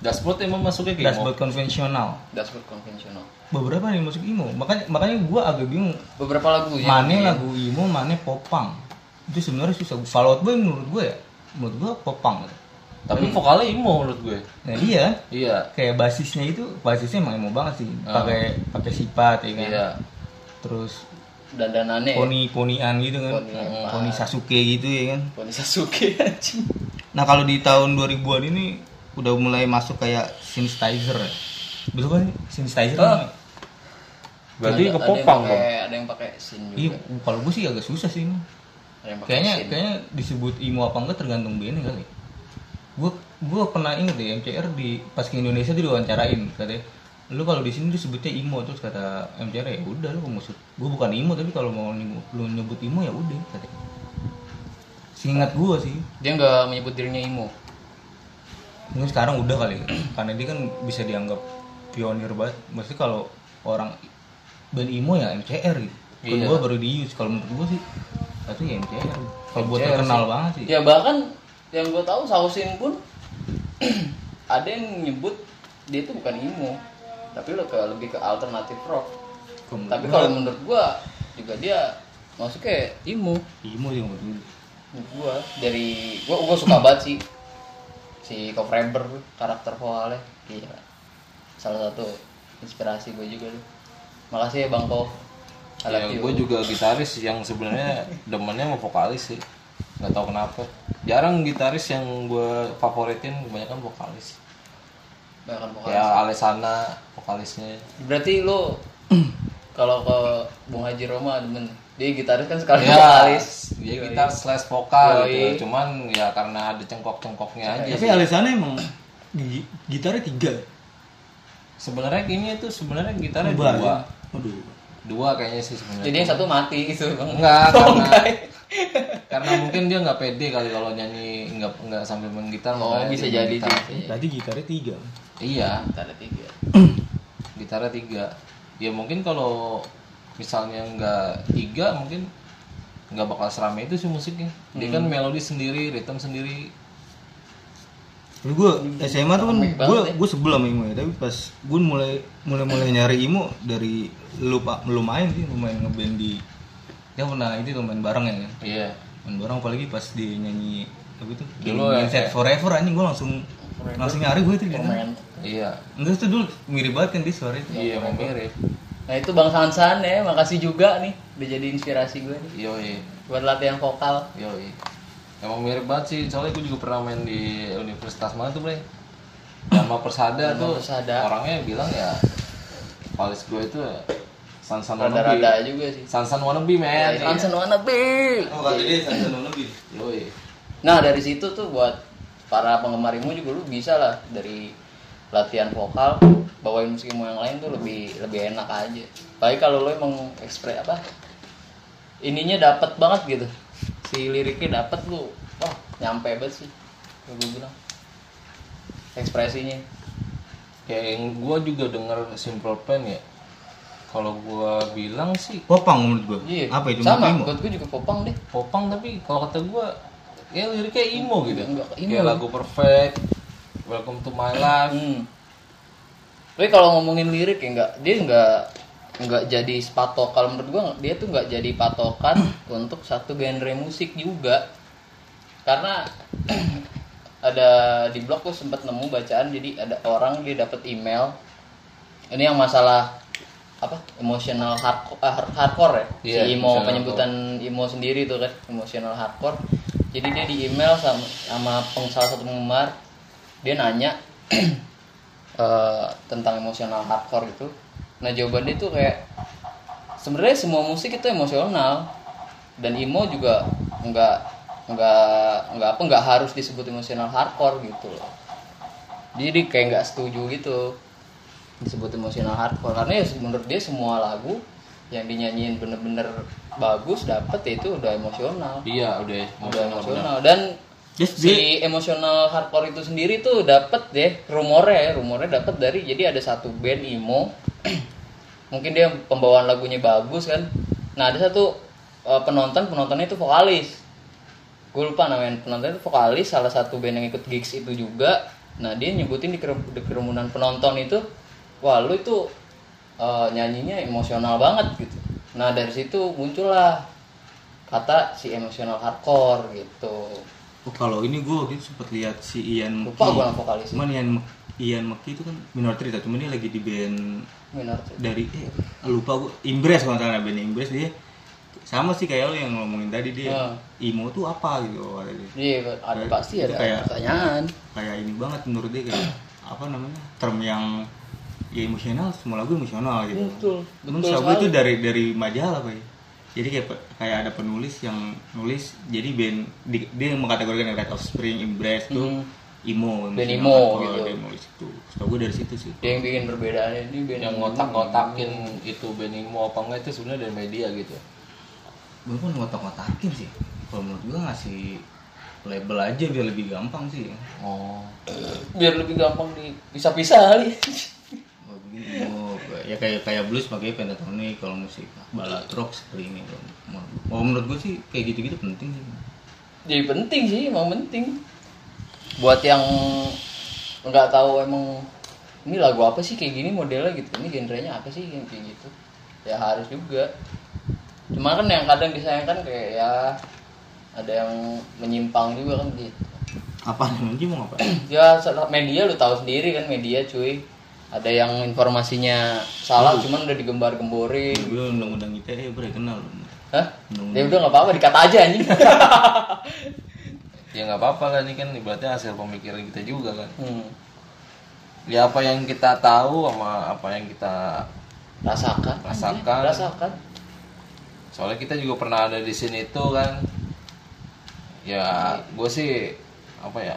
D: Dashboard emang masuknya kayak
B: dashboard konvensional
C: Dashboard konvensional.
B: beberapa ada yang masuk emo makanya makanya gue agak bingung
C: Beberapa lagunya.
B: mana lagu emo mana popang itu sebenarnya susah Fallout Boy menurut gue ya menurut gue popang
D: Tapi
C: Hmm.
D: vokalnya IMO menurut gue.
B: nah iya
D: Iya.
B: kayak basisnya itu basisnya emang emo banget sih
C: Ah.
B: pakai pakai sifat ya kan
D: Iya.
B: terus
C: Dandanannya. ya.
B: poni ponian gitu kan
C: Poni
B: poni,
C: apa?
B: Sasuke gitu ya kan
C: Poni Sasuke anjing.
B: nah kalau di tahun 2000-an ini udah mulai masuk kayak synthesizer ya. betul kan synthesizer
C: Oh.
B: namanya?
D: Berarti
C: Ada-
D: ke popang
C: ada yang
D: dong.
C: pakai- Ada yang pakai sin juga.
B: iya kalau gue sih agak susah sih ini
C: Ada yang pakai
B: kayaknya
C: sin.
B: kayaknya disebut emo apa enggak tergantung bandnya kali gue gue pernah inget ya MCR di pas ke Indonesia tuh diwawancarain katanya lu kalau di sini disebutnya emo terus kata MCR ya udah lu maksud gue bukan emo tapi kalau mau nyebut, lu nyebut emo ya udah katanya seingat gue sih
C: Dia nggak menyebut dirinya emo.
B: mungkin sekarang udah kali ya. karena dia kan bisa dianggap pionir banget maksudnya kalau orang band emo ya MCR gitu
D: Iya.
B: kedua baru di use kalau menurut gue sih satu ya MCR kalau buat
C: MCR
B: terkenal banget sih
C: Ya bahkan yang gue tahu Sausin pun ada yang nyebut dia itu bukan emo, tapi lo ke- lebih ke alternatif rock.
B: Kalau menurut
C: Tapi
B: gua-
C: kalau menurut gua juga dia masuknya emo.
B: Imo sih menurut gue.
C: Menurut gua dari gua gua suka banget sih si Cofraber karakter vokalnya. Gila. Salah satu inspirasi gue juga tuh. Makasih ya Bang Kov.
D: Ya,
C: I love you.
D: gue juga gitaris yang sebenarnya demennya mau vokalis sih. Gak tau kenapa. Jarang gitaris yang gue favoritin kebanyakan vokalis.
C: Bahkan vokalis.
D: Ya Alessana vokalisnya.
C: Berarti lu kalau ke Bung Haji Roma demen dia gitaris kan sekali
D: Ya,
C: vokalis.
D: dia gitar slash vokal
C: Yoi. Iya,
D: gitu. Cuman ya karena ada cengkok-cengkoknya aja.
B: Tapi
D: Iya sih.
B: alasannya emang gi- gitarnya tiga.
D: Sebenarnya ini tuh sebenarnya gitarnya
B: Dua.
D: dua.
B: Aduh.
D: Dua kayaknya sih sebenarnya.
C: Jadi yang satu mati itu bang.
D: Enggak,
C: Oh,
D: karena-
C: enggak.
D: karena mungkin dia nggak pede kali kalau nyanyi nggak nggak sambil main gitar
C: Oh,
D: makanya
C: bisa
D: dia
C: jadi
D: gitar.
C: sih.
B: Tadi gitarnya tiga.
D: iya
C: Ada tiga.
D: gitarnya tiga ya mungkin kalau misalnya nggak tiga mungkin nggak bakal serame itu sih musiknya dia
C: Hmm.
D: kan melodi sendiri rhythm sendiri
B: Dulu gue SMA tuh kan gue gue sebel sama Imo ya, tapi pas gue mulai mulai mulai nyari Imo dari lu pak lu main sih, lu main ngeband di dia pernah itu tuh main bareng ya kan,
D: iya
B: main bareng apalagi pas dia nyanyi apa itu
D: Dulu ya,
B: Mindset Forever anjing gue langsung langsung nyari gue itu di mana.
D: iya
B: Enggak itu dulu mirip banget kan dia suara itu.
D: iya emang mirip
C: Nah itu Bang Sansan ya, makasih juga nih udah jadi inspirasi gue nih
D: yoi
C: buat latihan vokal.
D: yoi emang mirip banget sih soalnya gue juga pernah main di universitas mana tuh bre sama persada tuh
C: Persada.
D: orangnya bilang ya vokalis gue itu ya, sansan
C: Rada-rada
D: wannabe
C: juga sih. Iya,
D: sansan wannabe man
C: Sansan wannabe.
B: Oh kata dia Sansan lebih.
D: yoi
C: Nah dari situ tuh buat para penggemar Imo juga lu bisa lah dari latihan vokal bawain musik Imo yang lain tuh lebih lebih enak aja. Tapi kalau lu emang ekspres apa ininya dapat banget gitu. Si liriknya dapat lu. Wah, nyampe banget sih. Kalau Gue bilang ekspresinya.
D: kayak yang gue juga denger simple plan ya kalau gue bilang sih
B: Popang menurut gue.
C: Iya.
B: Apa itu
C: Sama,
B: Imo?
C: buat gue juga popang deh.
D: popang tapi kalau kata gue ya liriknya emo gitu
C: Enggak, emo.
D: kayak lagu perfect welcome to my life
C: Hmm. Tapi kalau ngomongin lirik ya nggak, dia nggak nggak jadi patok. Kalau menurut gua dia tuh nggak jadi patokan untuk satu genre musik juga. Karena ada di blog gue sempat nemu bacaan jadi ada orang dia dapat email ini yang masalah apa emotional hardco- ah, hard- hardcore ya
D: Iya,
C: si emo
D: emotional
C: penyebutan emo sendiri tuh kan emotional hardcore jadi dia di email sama sama peng- salah satu penggemar dia nanya eh, tentang emotional hardcore gitu nah jawabannya tuh kayak sebenarnya semua musik itu emosional dan emo juga nggak nggak nggak apa nggak harus disebut emosional hardcore gitu loh jadi kayak nggak setuju gitu disebut emosional hardcore karena ya menurut dia semua lagu yang dinyanyiin bener-bener bagus dapet ya itu udah emosional
D: iya udah
C: udah
D: udah
C: emosional dan
B: Yes,
C: si emosional hardcore itu sendiri tuh dapat deh rumornya ya rumornya dapat dari jadi ada satu band emo mungkin dia pembawaan lagunya bagus kan nah ada satu eh, penonton penontonnya itu vokalis gue lupa namanya penonton itu vokalis salah satu band yang ikut gigs itu juga nah dia nyebutin di, kerum- di kerumunan penonton itu wah lu itu eh, nyanyinya emosional banget gitu nah dari situ muncullah kata si emosional hardcore gitu
B: Oh, kalau ini gue waktu itu sempat lihat si Ian
C: lupa
B: Mckee.
C: gue nama vokalisnya
B: Cuman Ian Mc- Ian McKee itu kan minor cerita, cuman dia lagi di band
C: minor
B: dari eh, lupa gue Imbres kalau nggak salah band Imbres dia sama sih kayak lo yang ngomongin tadi dia
C: Hmm.
B: imo tuh apa gitu kata dia.
C: iya ada
B: Kayak-
C: pasti ada
B: kayak-
C: pertanyaan
B: kayak ini banget menurut dia kayak apa namanya term yang ya emosional semua lagu emosional gitu
C: Betul,
B: Cuman
C: betul
B: setahu gue itu
C: sekali.
B: dari dari majalah pak ya. jadi kayak pe- kayak ada penulis yang nulis jadi band di- dia yang mengkategorikan Red Offspring, Embrace tuh emo
C: Hmm.
B: emosional
C: Band emo,
B: hardcore,
C: gitu.
B: dia nulis itu setahu gue dari situ sih
C: dia yang bikin perbedaannya ini band
D: yang ngotak-ngotakin itu Benny mau apa enggak itu sebenarnya dari media gitu
B: gue pun ngotak-ngotakin sih kalau menurut gue ngasih label aja biar lebih gampang sih ya.
D: oh
C: biar lebih gampang dipisah-pisah kali
B: Oh, begini. Oh, ya kayak kayak blues pakai pentatonik kalau musik balad rock seperti ini kalau menurut gua. Oh, menurut gue sih kayak gitu-gitu penting sih.
C: jadi penting sih emang penting buat yang nggak tahu emang ini lagu apa sih kayak gini modelnya gitu ini genrenya apa sih yang kayak gitu ya harus juga cuma kan yang kadang disayangkan kayak ya ada yang menyimpang juga kan gitu
B: Apa nanti mau apa?
C: ya salah- media lu tahu sendiri kan media cuy ada yang informasinya salah cuman udah digembar gemborin
B: gue Eh, undang-undang ITE bre kenal.
C: hah
B: Undang-undang.
D: Hmm.
C: ya udah nggak apa-apa dikata aja anjing
D: ya nggak apa-apa lah ini kan ibaratnya hasil pemikiran kita juga kan
C: hmm.
D: ya apa yang kita tahu sama apa yang kita
C: rasakan anjing.
D: Rasakan.
C: rasakan
D: soalnya kita juga pernah ada di sini itu kan ya gue sih apa ya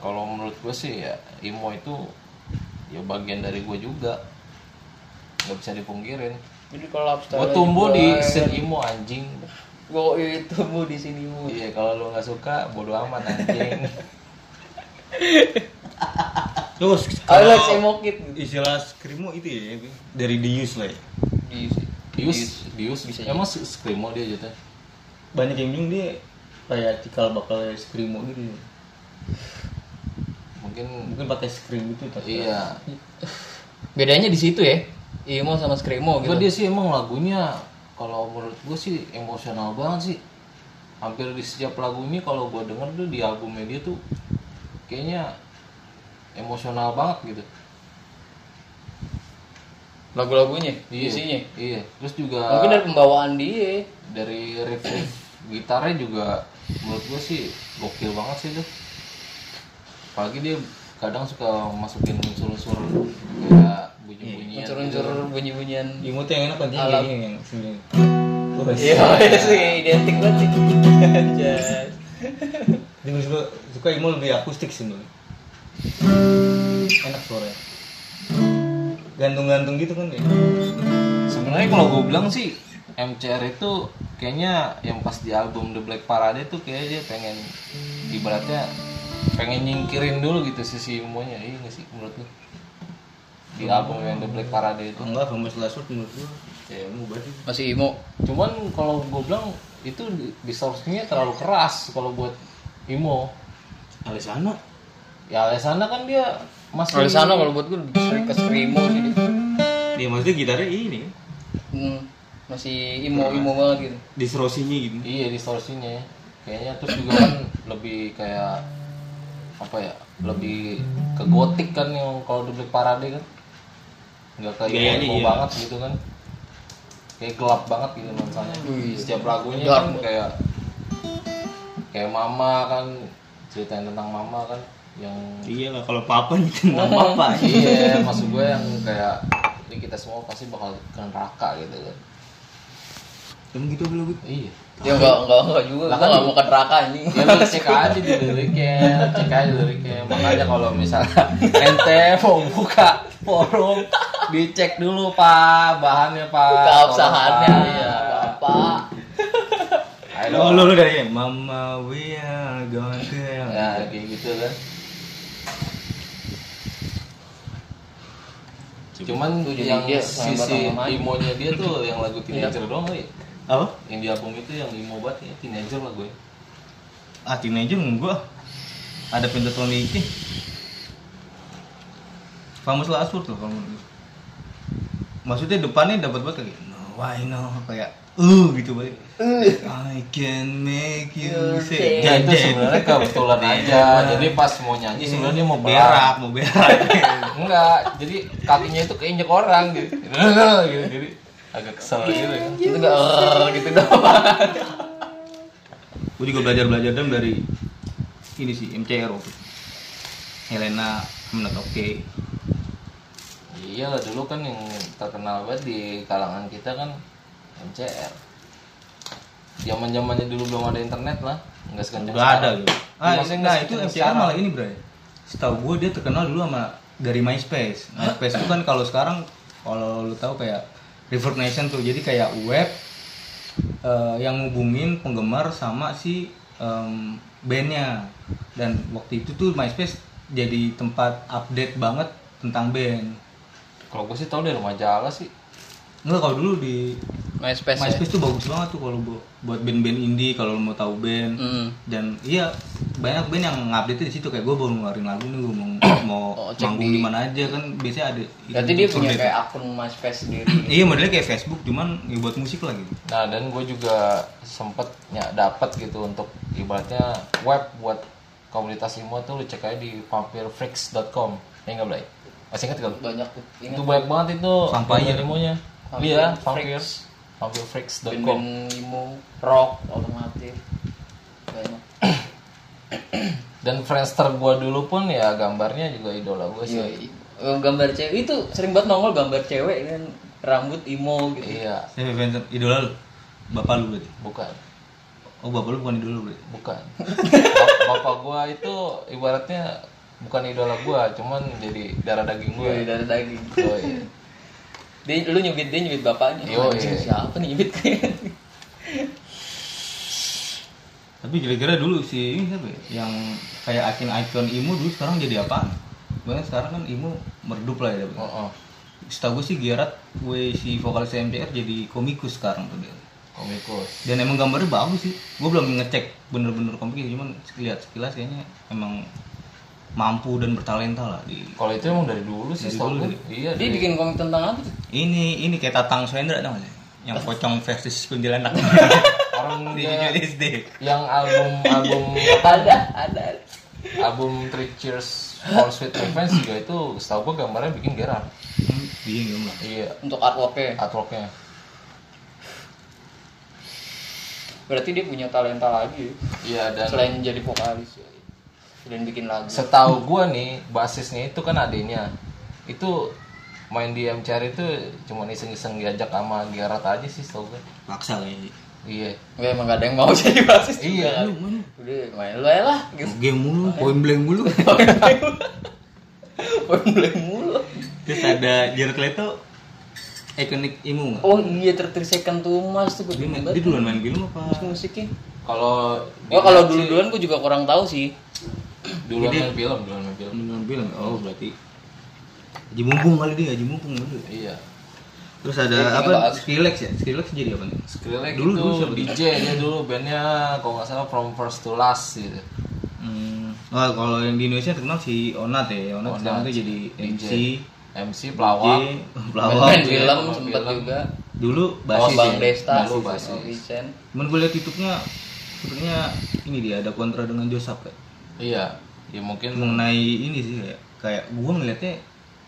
D: kalau menurut gue sih ya imo itu ya bagian dari gue juga nggak bisa dipungkirin
C: jadi kalau lifestyle
D: gue tumbuh di
C: gue-
D: scene imo anjing
C: gue itu ya. iya, tumbuh di sini mu
D: iya kalau lu nggak suka bodo amat anjing
B: Terus
C: I like
B: kalau
C: emo kid gitu.
B: istilah skrimo itu ya dari the use lah. ya.
C: Dius.
D: Dius, Dius,
C: Bisa
D: emang skrimo dia jatuh.
B: Banyak yang bilang dia kayak cikal bakal skrimo gitu.
D: Mungkin
B: Mungkin pakai skrim itu tapi
D: iya.
C: Bedanya di situ ya. Emo sama screamo
D: Gitu.
C: gitu.
D: dia sih emang lagunya kalau menurut gue sih emosional banget sih. Hampir di setiap lagunya kalau gue denger tuh di albumnya dia tuh kayaknya emosional banget gitu.
C: Lagu-lagunya,
D: Iya.
C: isinya.
D: Iya. Terus juga
C: Mungkin dari pembawaan dia.
D: dari riff riff gitarnya juga menurut gue sih gokil banget sih tuh apalagi dia kadang suka masukin unsur-unsur kayak bunyi-bunyian
C: Iya,
D: gitu.
C: Unsur-unsur bunyi-bunyian.
D: Iya.
B: Imo tuh yang enak nanti
C: Alam.
B: yang yang sini.
C: Iya, iya sih identik banget sih. Anjay.
B: Tapi gue suka, suka Imo lebih akustik sih dulu. Enak suaranya. Gantung-gantung gitu kan ya.
D: sebenarnya kalau gue bilang sih MCR itu kayaknya yang pas di album The Black Parade itu kayaknya dia pengen ibaratnya pengen nyingkirin dulu gitu sisi semuanya iya nggak sih menurut lu di album yang The Black Parade itu
B: Enggak, Famous Last Word menurut gue. Ya, mau berarti.
C: Masih emo.
D: cuman kalau gue bilang itu distorsinya terlalu keras kalau buat Imo
B: Alessandro.
D: ya Alessandra kan dia masih
C: Kalau di sana kalau buat gue lebih sering ke screamo sih dia.
B: Dia maksudnya gitarnya ini kan.
C: Hmm, masih emo emo banget gitu.
B: Distorsinya gitu.
D: iya distorsinya ya. kayaknya terus juga kan lebih kayak apa ya lebih ke gotik kan yang kalau di Black Parade kan nggak kayak
B: Gayanya
D: emo
B: iya.
D: banget gitu kan kayak gelap banget gitu nuansanya setiap lagunya
C: Gelap.
D: kan kayak kayak mama kan ceritain tentang mama kan yang
B: Iya lah, kalau papa gitu tentang papa.
D: iya maksud gue yang kayak ini kita semua pasti bakal ke neraka gitu kan
B: Emang gitu belum?
D: iya
C: Ya enggak enggak enggak juga.
D: Lah
C: Gua
D: kan-
C: enggak mau ke neraka anjing.
D: ya lu cek aja di liriknya cek aja liriknya makanya kalau misalnya ente mau buka forum dicek dulu pak bahannya pak
C: Ya, Keabsahannya.
D: Tolong, Pak.
C: Ya, Bapak.
D: iya ayo
B: Oh, lu lu dari yang, Mama we are going to hell.
D: ya kayak gitu kan cuman
C: Tuh, jadi
D: yang
C: dia sama
D: sisi
C: sama maju.
D: imonya dia tuh yang lagu teenager doang kali ya.
B: Apa?
D: yang di album itu yang imo banget ya teenager lah gue
B: Ah, teenager nunggu ah. Ada pentatonic ini. Famous last word loh kalau menurut gue. Maksudnya depannya dapat banget kayak no, why no kayak uh gitu balik. I can make you
C: You
B: say.
C: say.
D: Ya itu
B: Dead.
D: sebenarnya kebetulan
B: Iya,
D: aja. Jadi pas mau nyanyi sebenarnya mau berak.
B: berak, mau berak.
D: Enggak, jadi kakinya itu keinjek orang gitu. gitu. Jadi agak
B: Iya,
D: kesel gitu. ya.
C: Itu enggak "Er" gitu doang.
B: gue juga belajar belajar dam dari ini sih MCR waktu itu. Helena I'm not okay
D: Iya lah dulu kan yang terkenal banget di kalangan kita kan MCR. Zaman zamannya dulu belum ada internet lah, nggak sekencang
B: nggak ada
D: sekarang.
B: gitu ah
D: Iya,
B: itu,
D: maksudnya
B: nah
D: nggak
B: itu
D: sekencang
B: MCR malah
D: sekarang.
B: ini bro setahu gue dia terkenal dulu sama dari MySpace MySpace itu kan kalau sekarang kalau lu tahu kayak River Nation tuh jadi kayak web eh, yang ngubungin penggemar sama si em, bandnya dan waktu itu tuh MySpace jadi tempat update banget tentang band
D: Kalau gue sih tau dari majalah sih.
B: Enggak kalau dulu di
C: MySpace. ya?
B: MySpace tuh bagus banget tuh kalau bu- buat band-band indie kalau lo mau tahu band
C: Hmm.
B: dan iya banyak band yang ngupdate di situ kayak gue baru ngeluarin lagu nih gue mau mau
C: Oh, cek
B: manggung di
C: di-
B: mana aja kan biasanya ada itu-
C: Berarti dia punya
B: update.
C: kayak akun MySpace sendiri.
B: iya modelnya kayak Facebook cuman ya buat musik lagi
D: Nah dan gue juga sempet ya, dapat gitu untuk ibaratnya web buat komunitas IMO tuh lu cek aja di vampirfreaks.com ya nggak Blay? Masih ingat kan?
C: Banyak tuh. Ini
D: Itu banyak banget itu
B: Vampire.
D: banyak IMO-nya
C: Vampire
D: Iya,
C: Freaks.
D: vampir vampirfreaks.com
C: band-band emo, rock, alternatif. Banyak.
D: Dan Friendster gue dulu pun ya gambarnya juga idola gue sih
C: Iya. Eh, Gambar cewek itu sering banget nongol gambar cewek kan rambut emo gitu.
D: Iya,
B: saya Eh, fans idola lu bapak lu berarti
D: bukan
B: oh bapak lu bukan idola lu berarti
D: bukan Bap- Bapak gue itu ibaratnya bukan idola gue cuman jadi darah daging gue
C: Gue dari daging.
D: Oh, iya.
C: Dia, lu nyubit dia nyubit bapaknya.
D: Yo,
C: Anjing,
D: iya.
C: Siapa nih nyubit kayak?
B: tapi kira-kira dulu si ini siapa ya yang kayak akin icon emo dulu sekarang jadi apa banget sekarang kan Imo merdup lah ya.
D: Oh, oh.
B: Setahu gue sih Gerard, gue si vokalis MCR jadi komikus sekarang tuh dia.
D: komikus
B: Dan emang gambarnya bagus sih. Gue belum ngecek bener-bener komikus, cuman lihat sekilas kayaknya emang mampu dan bertalenta lah di
D: kalau itu emang dari dulu sih
B: Dari
D: setahu
B: dulu
D: gue. iya
C: Dia
D: dari-
C: bikin komik tentang apa tuh?
B: ini ini kayak Tatang Suendra tau gak sih? Yang pocong versus kuntilanak
D: orang
B: di
D: dia-
B: judul SD.
D: yang album album
C: Ada, ada.
D: album Three Cheers for Sweet Revenge juga itu setahu gue gambarnya bikin Gerard
B: Hmm, Bingung lah.
D: iya
C: Untuk artworknya.
D: artworknya
C: Berarti dia punya talenta lagi. ya?
D: iya dan
C: Selain jadi vokalis. Dan bikin lagu.
D: setahu gua nih basisnya itu kan adiknya itu main di MCR itu cuman iseng-iseng diajak sama Gerard aja sih setahu gue
B: Paksa kayaknya.
D: iya
C: Gue emang gak ada yang mau jadi basis.
D: iya
C: Udah main lu aja lah. Gitu.
B: Game mulu, point blank mulu.
C: Main mulai mulu.
B: Terus ada Jared Leto ikonik Imo nggak?
C: Oh iya, 30 second to Mars tuh gue
B: Dia,
C: bingung
B: dia
C: banget.
B: duluan main film apa?
C: Musiknya.
D: Oh, kalau
C: Gua kalau dulu-duluan gue juga kurang tahu sih.
D: duluan main film duluan main film
B: Duluan film. Oh, berarti Haji Mumpung kali dia, Haji Mumpung dulu.
D: iya
B: Terus ada apa? Skrillex ya? Skrillex jadi apa nih?
D: Skrillex
B: Dulu-
D: itu
B: dulu siapa tuh?
D: DJ dia dulu bandnya kalau nggak salah From First to Last gitu
B: Hmm. Wah, kalau yang di Indonesia terkenal si Onat ya. Onat,
D: Onat.
B: sekarang tuh jadi
D: DJ,
B: MC,
D: MC
B: DJ,
D: pelawak
C: Main
B: pelawak.
D: Iya,
C: film
D: main
C: sempet
D: film.
C: juga.
B: Dulu
C: Bawa
B: basis
C: Bang
B: ya.
C: Desta,
D: Dulu
C: Bawa
D: basis.
C: Vincent.
B: Cuman gue liat YouTube-nya sepertinya ini dia ada kontra dengan Josap kayak.
D: iya ya mungkin
B: mengenai ini sih kayak kayak gue ngeliatnya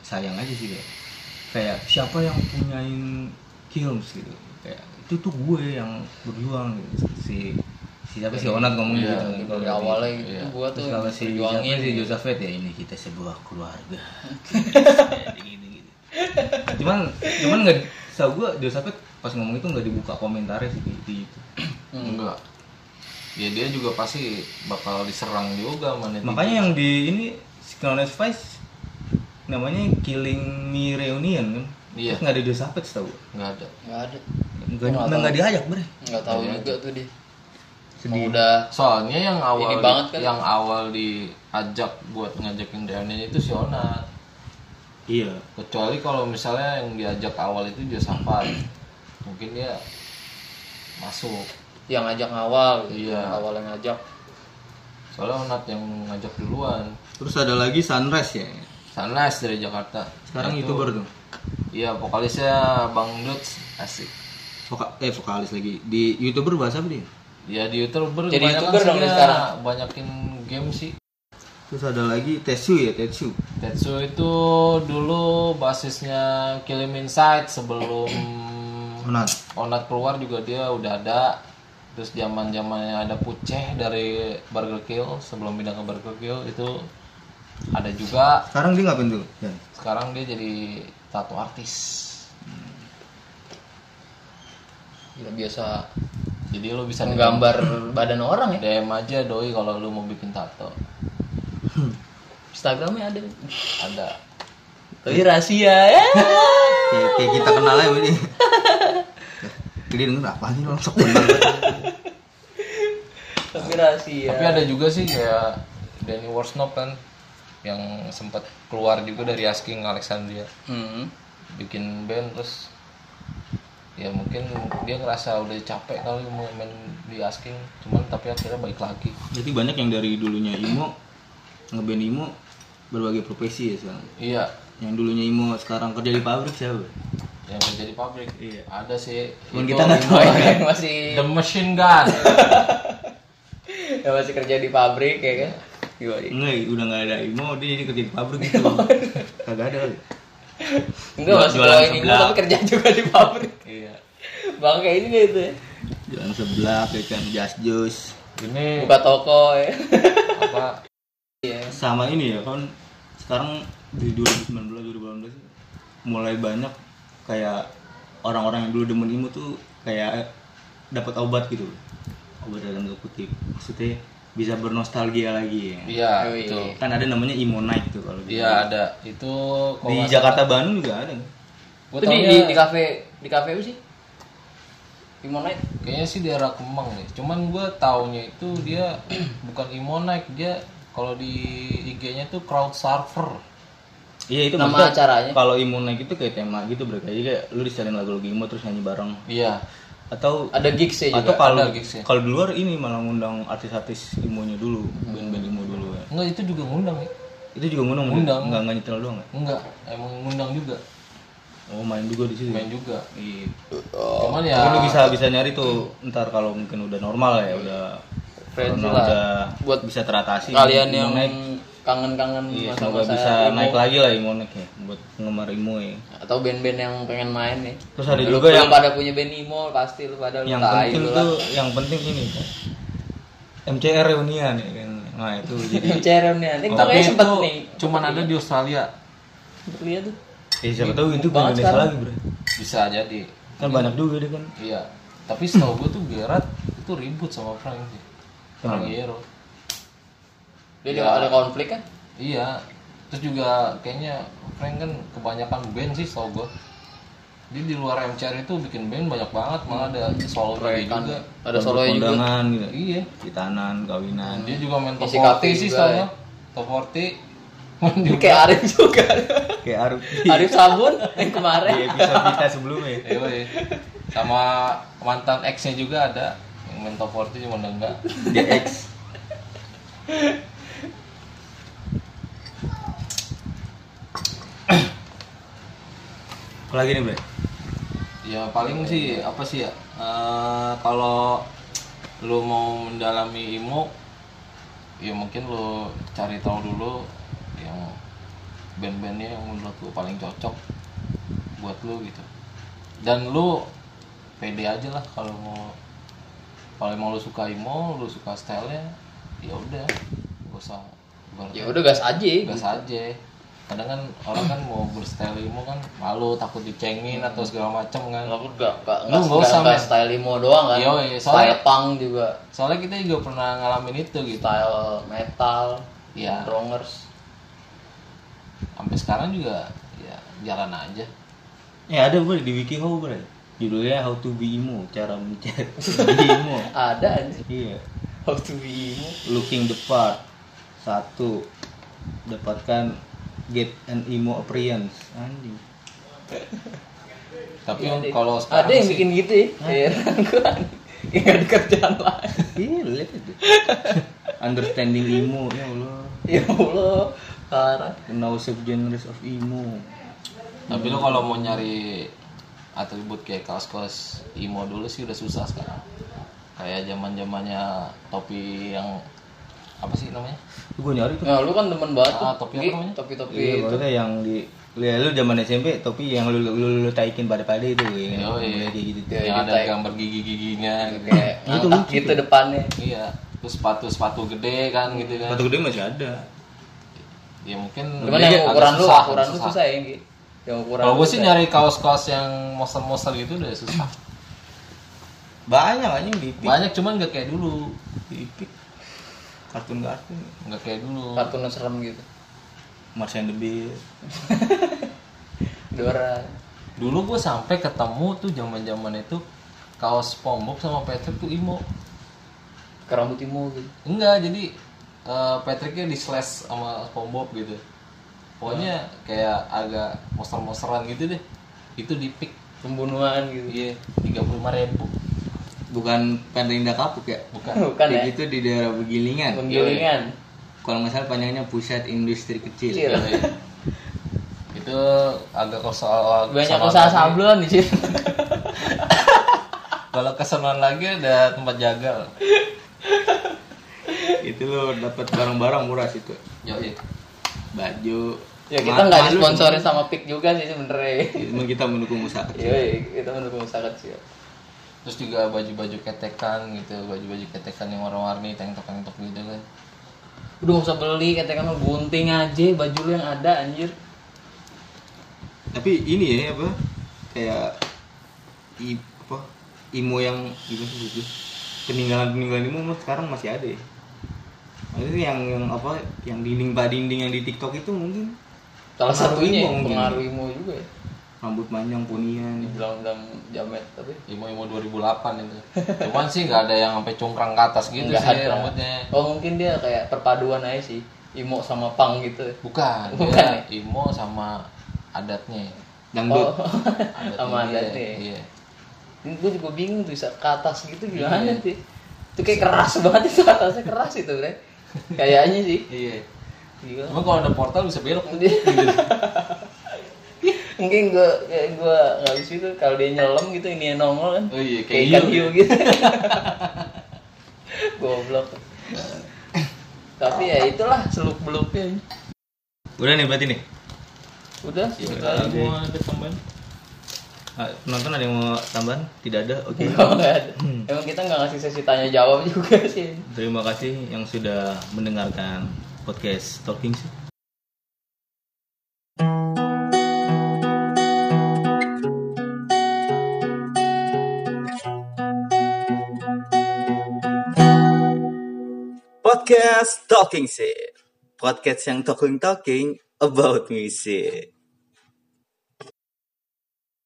B: sayang aja sih kayak kayak siapa yang punyain Kilms gitu kayak itu tuh gue yang berjuang gitu si si siapa si Onat ngomong gitu
D: Iya,
B: kan, kalau
C: Dari
B: liat
C: awalnya
B: di-
C: gitu
D: Iya.
C: gua tuh
B: terus kalau si siapa
C: juangin
B: si Josephet ya ini kita sebuah keluarga Gini, gitu. cuman cuman nggak tau gue Josephet pas ngomong itu nggak dibuka komentarnya sih di, di YouTube.
D: enggak ya dia juga pasti bakal diserang juga sama netizen.
B: makanya yang di ini Synchronized Vice namanya Killing Me Reunion kan
D: Iya.
B: Terus nggak ada Josapet tau
D: nggak ada
C: Nggak ada.
B: nggak
C: Nggak
B: nggak
C: tahu.
B: diajak bre
C: Nggak tahu
D: Iya.
C: juga tuh dia. Mau
B: sedih
C: udah
D: Soalnya yang awal
C: Ini banget kan?
D: yang awal diajak buat ngajakin reunion itu si Onat.
B: iya
D: Kecuali kalau misalnya yang diajak awal itu Josafat. Mungkin dia masuk.
C: yang ngajak awal gitu.
D: Iya.
C: Awal yang ngajak.
D: Soalnya Onat yang ngajak duluan.
B: terus ada lagi Sunrise ya
D: Sunrise dari Jakarta.
B: sekarang
D: Itu-
B: youtuber tuh
D: Iya, vokalisnya Bang Duts asik.
B: Voka- eh vokalis lagi di youtuber bahasa apa dia
D: Ya di YouTuber
C: Jadi
D: kebanyakan
C: YouTuber
D: sih
C: dong dia
D: dia
C: sekarang?
D: banyakin game sih.
B: terus ada lagi Tetsu ya Tetsu
D: Tetsu itu dulu basisnya Killing Inside sebelum
B: Onat
D: Onat keluar juga dia udah ada. Terus zaman zamannya ada Puceh dari Burger Kill sebelum pindah ke Burger Kill itu ada juga.
B: sekarang dia ngapain tuh Dan
D: Sekarang dia jadi tato artis.
C: Ya biasa
D: Jadi lu bisa
C: menggambar badan orang ya.
D: DM aja doi kalau lu mau bikin tato.
C: Instagramnya ada.
D: Ada.
C: Tapi rahasia ya.
B: kayak, kayak kita kenal aja ini jadi denger apa sih lo sok bener
C: Tapi
B: Iya.
C: rahasia.
D: Tapi ada juga sih kayak Danny Worsnop kan yang sempat keluar juga dari Asking Alexandria.
C: Hmm.
D: bikin band terus ya mungkin dia ngerasa udah capek kali mau main di asking cuman tapi akhirnya balik lagi
B: jadi banyak yang dari dulunya Imo ngeband Imo berbagai profesi ya sekarang
D: iya
B: yang dulunya Imo sekarang kerja di pabrik siapa
D: yang menjadi pabrik
B: Iya.
D: ada sih
B: Cuman
D: Itu
B: kita nggak tahu
D: Imo,
C: Yang masih
D: the machine gun
C: yang masih kerja di pabrik ya kan. Gimana?
B: enggak udah nggak ada Imo dia jadi kerja di pabrik gitu kagak ada kali.
C: Enggak
B: Jual-
C: masih
B: jualan
C: bawain ini
B: seblak.
C: tapi kerja juga di pabrik.
D: iya
C: Bang kayak ini deh itu ya.
B: jalan sebelah kayak kan jas jus
D: ini
C: Buka toko ya. Iya.
D: apa
B: sama ini ya kan sekarang di 2019 2018 ya, mulai banyak kayak orang-orang yang dulu demen Imo tuh kayak dapat obat gitu obat dalam tanda kutip maksudnya bisa bernostalgia lagi ya
D: iya
C: Yoi.
D: itu
B: kan ada namanya Imo Night tuh kalau di-
D: iya ada itu
B: di Jakarta Bandung juga ada
D: gue
C: Itu di, di, di kafe di kafe apa sih? Di mana? ya?
D: kayaknya sih daerah Kemang deh cuman gue taunya itu dia bukan Imo Night, dia kalau di IG-nya tuh crowd surfer
B: Iya itu
C: Nama
B: maksudnya
C: acaranya?
B: Kalau imunnya gitu kayak tema gitu berarti Jadi kayak lu disetelin lagu-lagu emo terus nyanyi bareng
D: Iya.
B: atau
C: Ada gigs ya
B: atau
C: juga.
B: kalau
D: ada gigsnya.
B: kalau di luar ini malah ngundang artis-artis imunya dulu,
C: Hmm.
B: band-band imu dulu ya.
D: Enggak itu juga ngundang ya.
B: Itu juga ngundang,
D: Ngundang.
B: enggak enggak nyetel doang ya?
D: Enggak, emang ngundang juga.
B: Oh, main juga di situ. ya?
D: Main juga.
B: Iya.
D: Cuman ya
B: Tapi lu bisa bisa nyari tuh ntar kalau mungkin udah normal ya, udah
C: Friends
B: corona
C: lah.
B: udah
C: Buat
B: bisa teratasi
C: Kalian
B: imun
C: yang
B: naik.
C: kangen-kangen
B: Iya, semoga
C: masa-masa
B: bisa
C: emo.
B: naik lagi lah imun ya buat penggemar imu ya.
C: atau band-band yang pengen main nih.
B: Terus ada
C: Lu
B: juga yang-
C: pada punya band emo pasti lu pada lu
B: yang
C: tai
B: penting
C: lu lah.
B: tuh yang penting ini MCR reunian ya kan nah itu jadi
C: Ceron nih, ini kita
D: tapi
C: kayaknya
D: itu
C: sempet nih.
D: cuman ada di Australia.
C: Sempet lihat tuh.
B: eh, siapa tahu itu ke
C: Banget
B: Indonesia
C: sekarang.
B: lagi bro
D: Bisa jadi.
B: kan banyak juga dia kan
D: Iya. Tapi setahu gue tuh Gerard itu ribut sama Frank sih. Frank Hero.
C: Dia juga
B: Ya.
C: ada konflik kan?
D: Iya. Terus juga kayaknya Frank kan kebanyakan band sih setahu gue. Dia di luar MCR itu bikin band banyak banget, malah ada solo dia
C: Kan
D: juga.
C: ada solonya juga.
B: kondangan gitu
D: Iya.
B: kitanan kawinan
D: Dia juga main top
C: Isi kafe
D: 40 sih
C: juga ya.
D: setahu gua. Top 40 main
C: Ini
D: juga.
C: Kayak Arif
B: Iya.
C: juga.
B: kayak Arif
C: Arif Sabun yang kemarin.
B: di episode kita sebelumnya ya.
D: Iya, sama mantan ex-nya juga ada yang main top 40 cuma udah enggak.
B: di X Apa lagi nih bre
D: Ya paling sih apa sih ya? eh, kalau lu mau mendalami IMO ya mungkin lu cari tahu dulu yang band-bandnya yang menurut lu paling cocok buat lu gitu. Dan lu pede aja lah kalau mau kalau emang lu suka IMO, lu suka stylenya, ya udah, gak usah ibaratnya
C: Ya udah gas aja.
D: gas aja kadang kan orang kan mau berstyle emo kan malu takut dicengin atau segala macem kan
C: Aku gak gak
D: Lu
C: gak
D: nggak usah,
C: nggak- nggak
D: Mas.
C: style emo doang kan.
D: Iya, iya, soalnya-
C: Style punk juga,
D: soalnya kita juga pernah ngalamin itu gitu
C: style metal,
B: Iya.
D: ya
C: drongers.
D: sampai sekarang juga ya jalan aja
B: ya ada bre di wiki how bre judulnya how to be emo cara mencari be emo
C: Ada anjir.
B: iya
C: How to be emo.
B: looking the part satu dapatkan get an emo appearance anjing
D: tapi
C: Iya, ada-
D: kalau
C: Ada
D: sekarang
C: yang
D: sih
C: bikin gitu ya. Heran gua. Enggak ada kan? kerjaan lain.
B: iya lu lihat itu understanding emo ya allah
C: Ya Allah, parah.
B: now subgenres of emo
D: tapi lo kalau mau nyari atribut kayak kaos-kaos emo dulu sih udah susah sekarang kayak zaman zamannya topi yang apa sih namanya
B: Tuh, gua nyari tuh
C: Nah, lu kan temen banget tuh.
D: Ah, topi apa
C: Gi.
D: namanya?
C: Topi-topi
B: iya
C: itu.
B: maksudnya yang di ya, lu zaman SMP tapi yang lu lu, lu, lu taikin pada pada itu ya
D: Yo, iya.
B: kayak gitu
C: Ya,
D: yang ada
C: gitu, ya.
D: gambar gigi-giginya gitu
C: Kayak ngangkat gitu depannya.
D: iya terus sepatu-sepatu gede kan gitu kan
B: Sepatu gede masih ada
D: ya mungkin
C: Cuman yang
D: agak
C: ukuran lu,
D: susah,
C: ukuran
D: agak
C: lu
D: susah.
C: susah ya, Gi. Yang ukuran
D: kalau
C: lu
D: gue sih
C: susah. ya?
D: nyari kaos-kaos yang monster-monster gitu udah susah
B: banyak anjing di Epic.
D: banyak cuman nggak kayak dulu
B: di Epic. kartun-kartun
D: nggak kayak dulu
C: kartun yang serem gitu.
B: Mars and the Beast
C: Dora.
D: dulu gue sampai ketemu tuh zaman zaman itu kaos Spongebob sama Patrick tuh imo
C: Kerambut timu gitu.
D: enggak jadi eh, Patricknya di slash sama Spongebob gitu pokoknya
C: Hmm.
D: kayak agak monster-monsteran gitu deh itu di pick
C: Pembunuhan gitu.
D: iya tiga ribu
B: bukan Panderinda Kapuk ya
D: bukan
C: Bukan ya?
D: gitu.
B: itu di daerah Begilingan
C: Penggilingan.
B: kalau nggak salah panjangnya pusat industri
C: Kecil.
B: kecil
D: Iya. itu agak kesalahan
C: Banyak usaha sablon di situ.
D: Kalau kesenangan lagi ada tempat jagal.
B: itu lo dapat barang-barang murah situ
D: Yoi.
B: baju
C: Ya kita
B: Ma-
C: nggak
B: malu
C: disponsorin sama PIK juga sih sebenernya.
B: sih. Emang kita mendukung usaha
C: Iya, kita mendukung usaha kecil.
D: Terus juga baju-baju ketekan gitu, baju-baju ketekan yang warna-warni, tank top tank top gitu kan.
C: Udah nggak usah beli, katanya kan gunting aja baju lu yang ada anjir.
B: tapi ini ya apa kayak i, apa imo yang gimana sih itu peninggalan peninggalan imo mah sekarang masih ada ya maksudnya yang, yang apa yang dinding pak dinding yang di tiktok itu mungkin
C: Salah
B: Pengaruh
C: satunya
B: imo mungkin.
C: pengaruh imo juga ya.
B: rambut panjang punian
C: Dibilang-bilang jamet tapi
D: Imo-imo 2008 itu. Cuman sih nggak ada yang sampai cungkrang ke atas gitu
C: Nggak
D: sih
C: ada.
D: rambutnya.
C: Oh mungkin dia kayak perpaduan aja sih imo sama pang gitu
D: Bukan,
C: Bukan
D: dia emo sama adatnya.
B: dangdut
C: sama
D: dia,
C: adatnya
D: Oh. Iya.
C: ini gue juga bingung tuh bisa ke atas gitu gimana sih itu kayak keras banget itu atasnya keras itu bre kayaknya sih
D: Iya.
C: gila
D: Cuma kalau ada portal bisa belok.
C: mungkin gue kayak gue nggak bisa itu kalau dia nyelam gitu ini yang nongol kan
D: Oh iya,
C: kayak
D: kayak
C: ikan hiu
D: hiu.
C: gitu goblok tapi ya itulah seluk beluknya
B: udah nih berarti nih
C: udah
B: Iya.
C: sih
D: Kita
C: kita
D: mau ada tambahan.
B: Ah, penonton ada yang mau tambahan tidak ada oke
C: emang kita nggak ngasih sesi tanya jawab juga sih
B: terima kasih yang sudah mendengarkan podcast talking Shit.
A: Podcast Talking Shit. Podcast yang talking talking about music.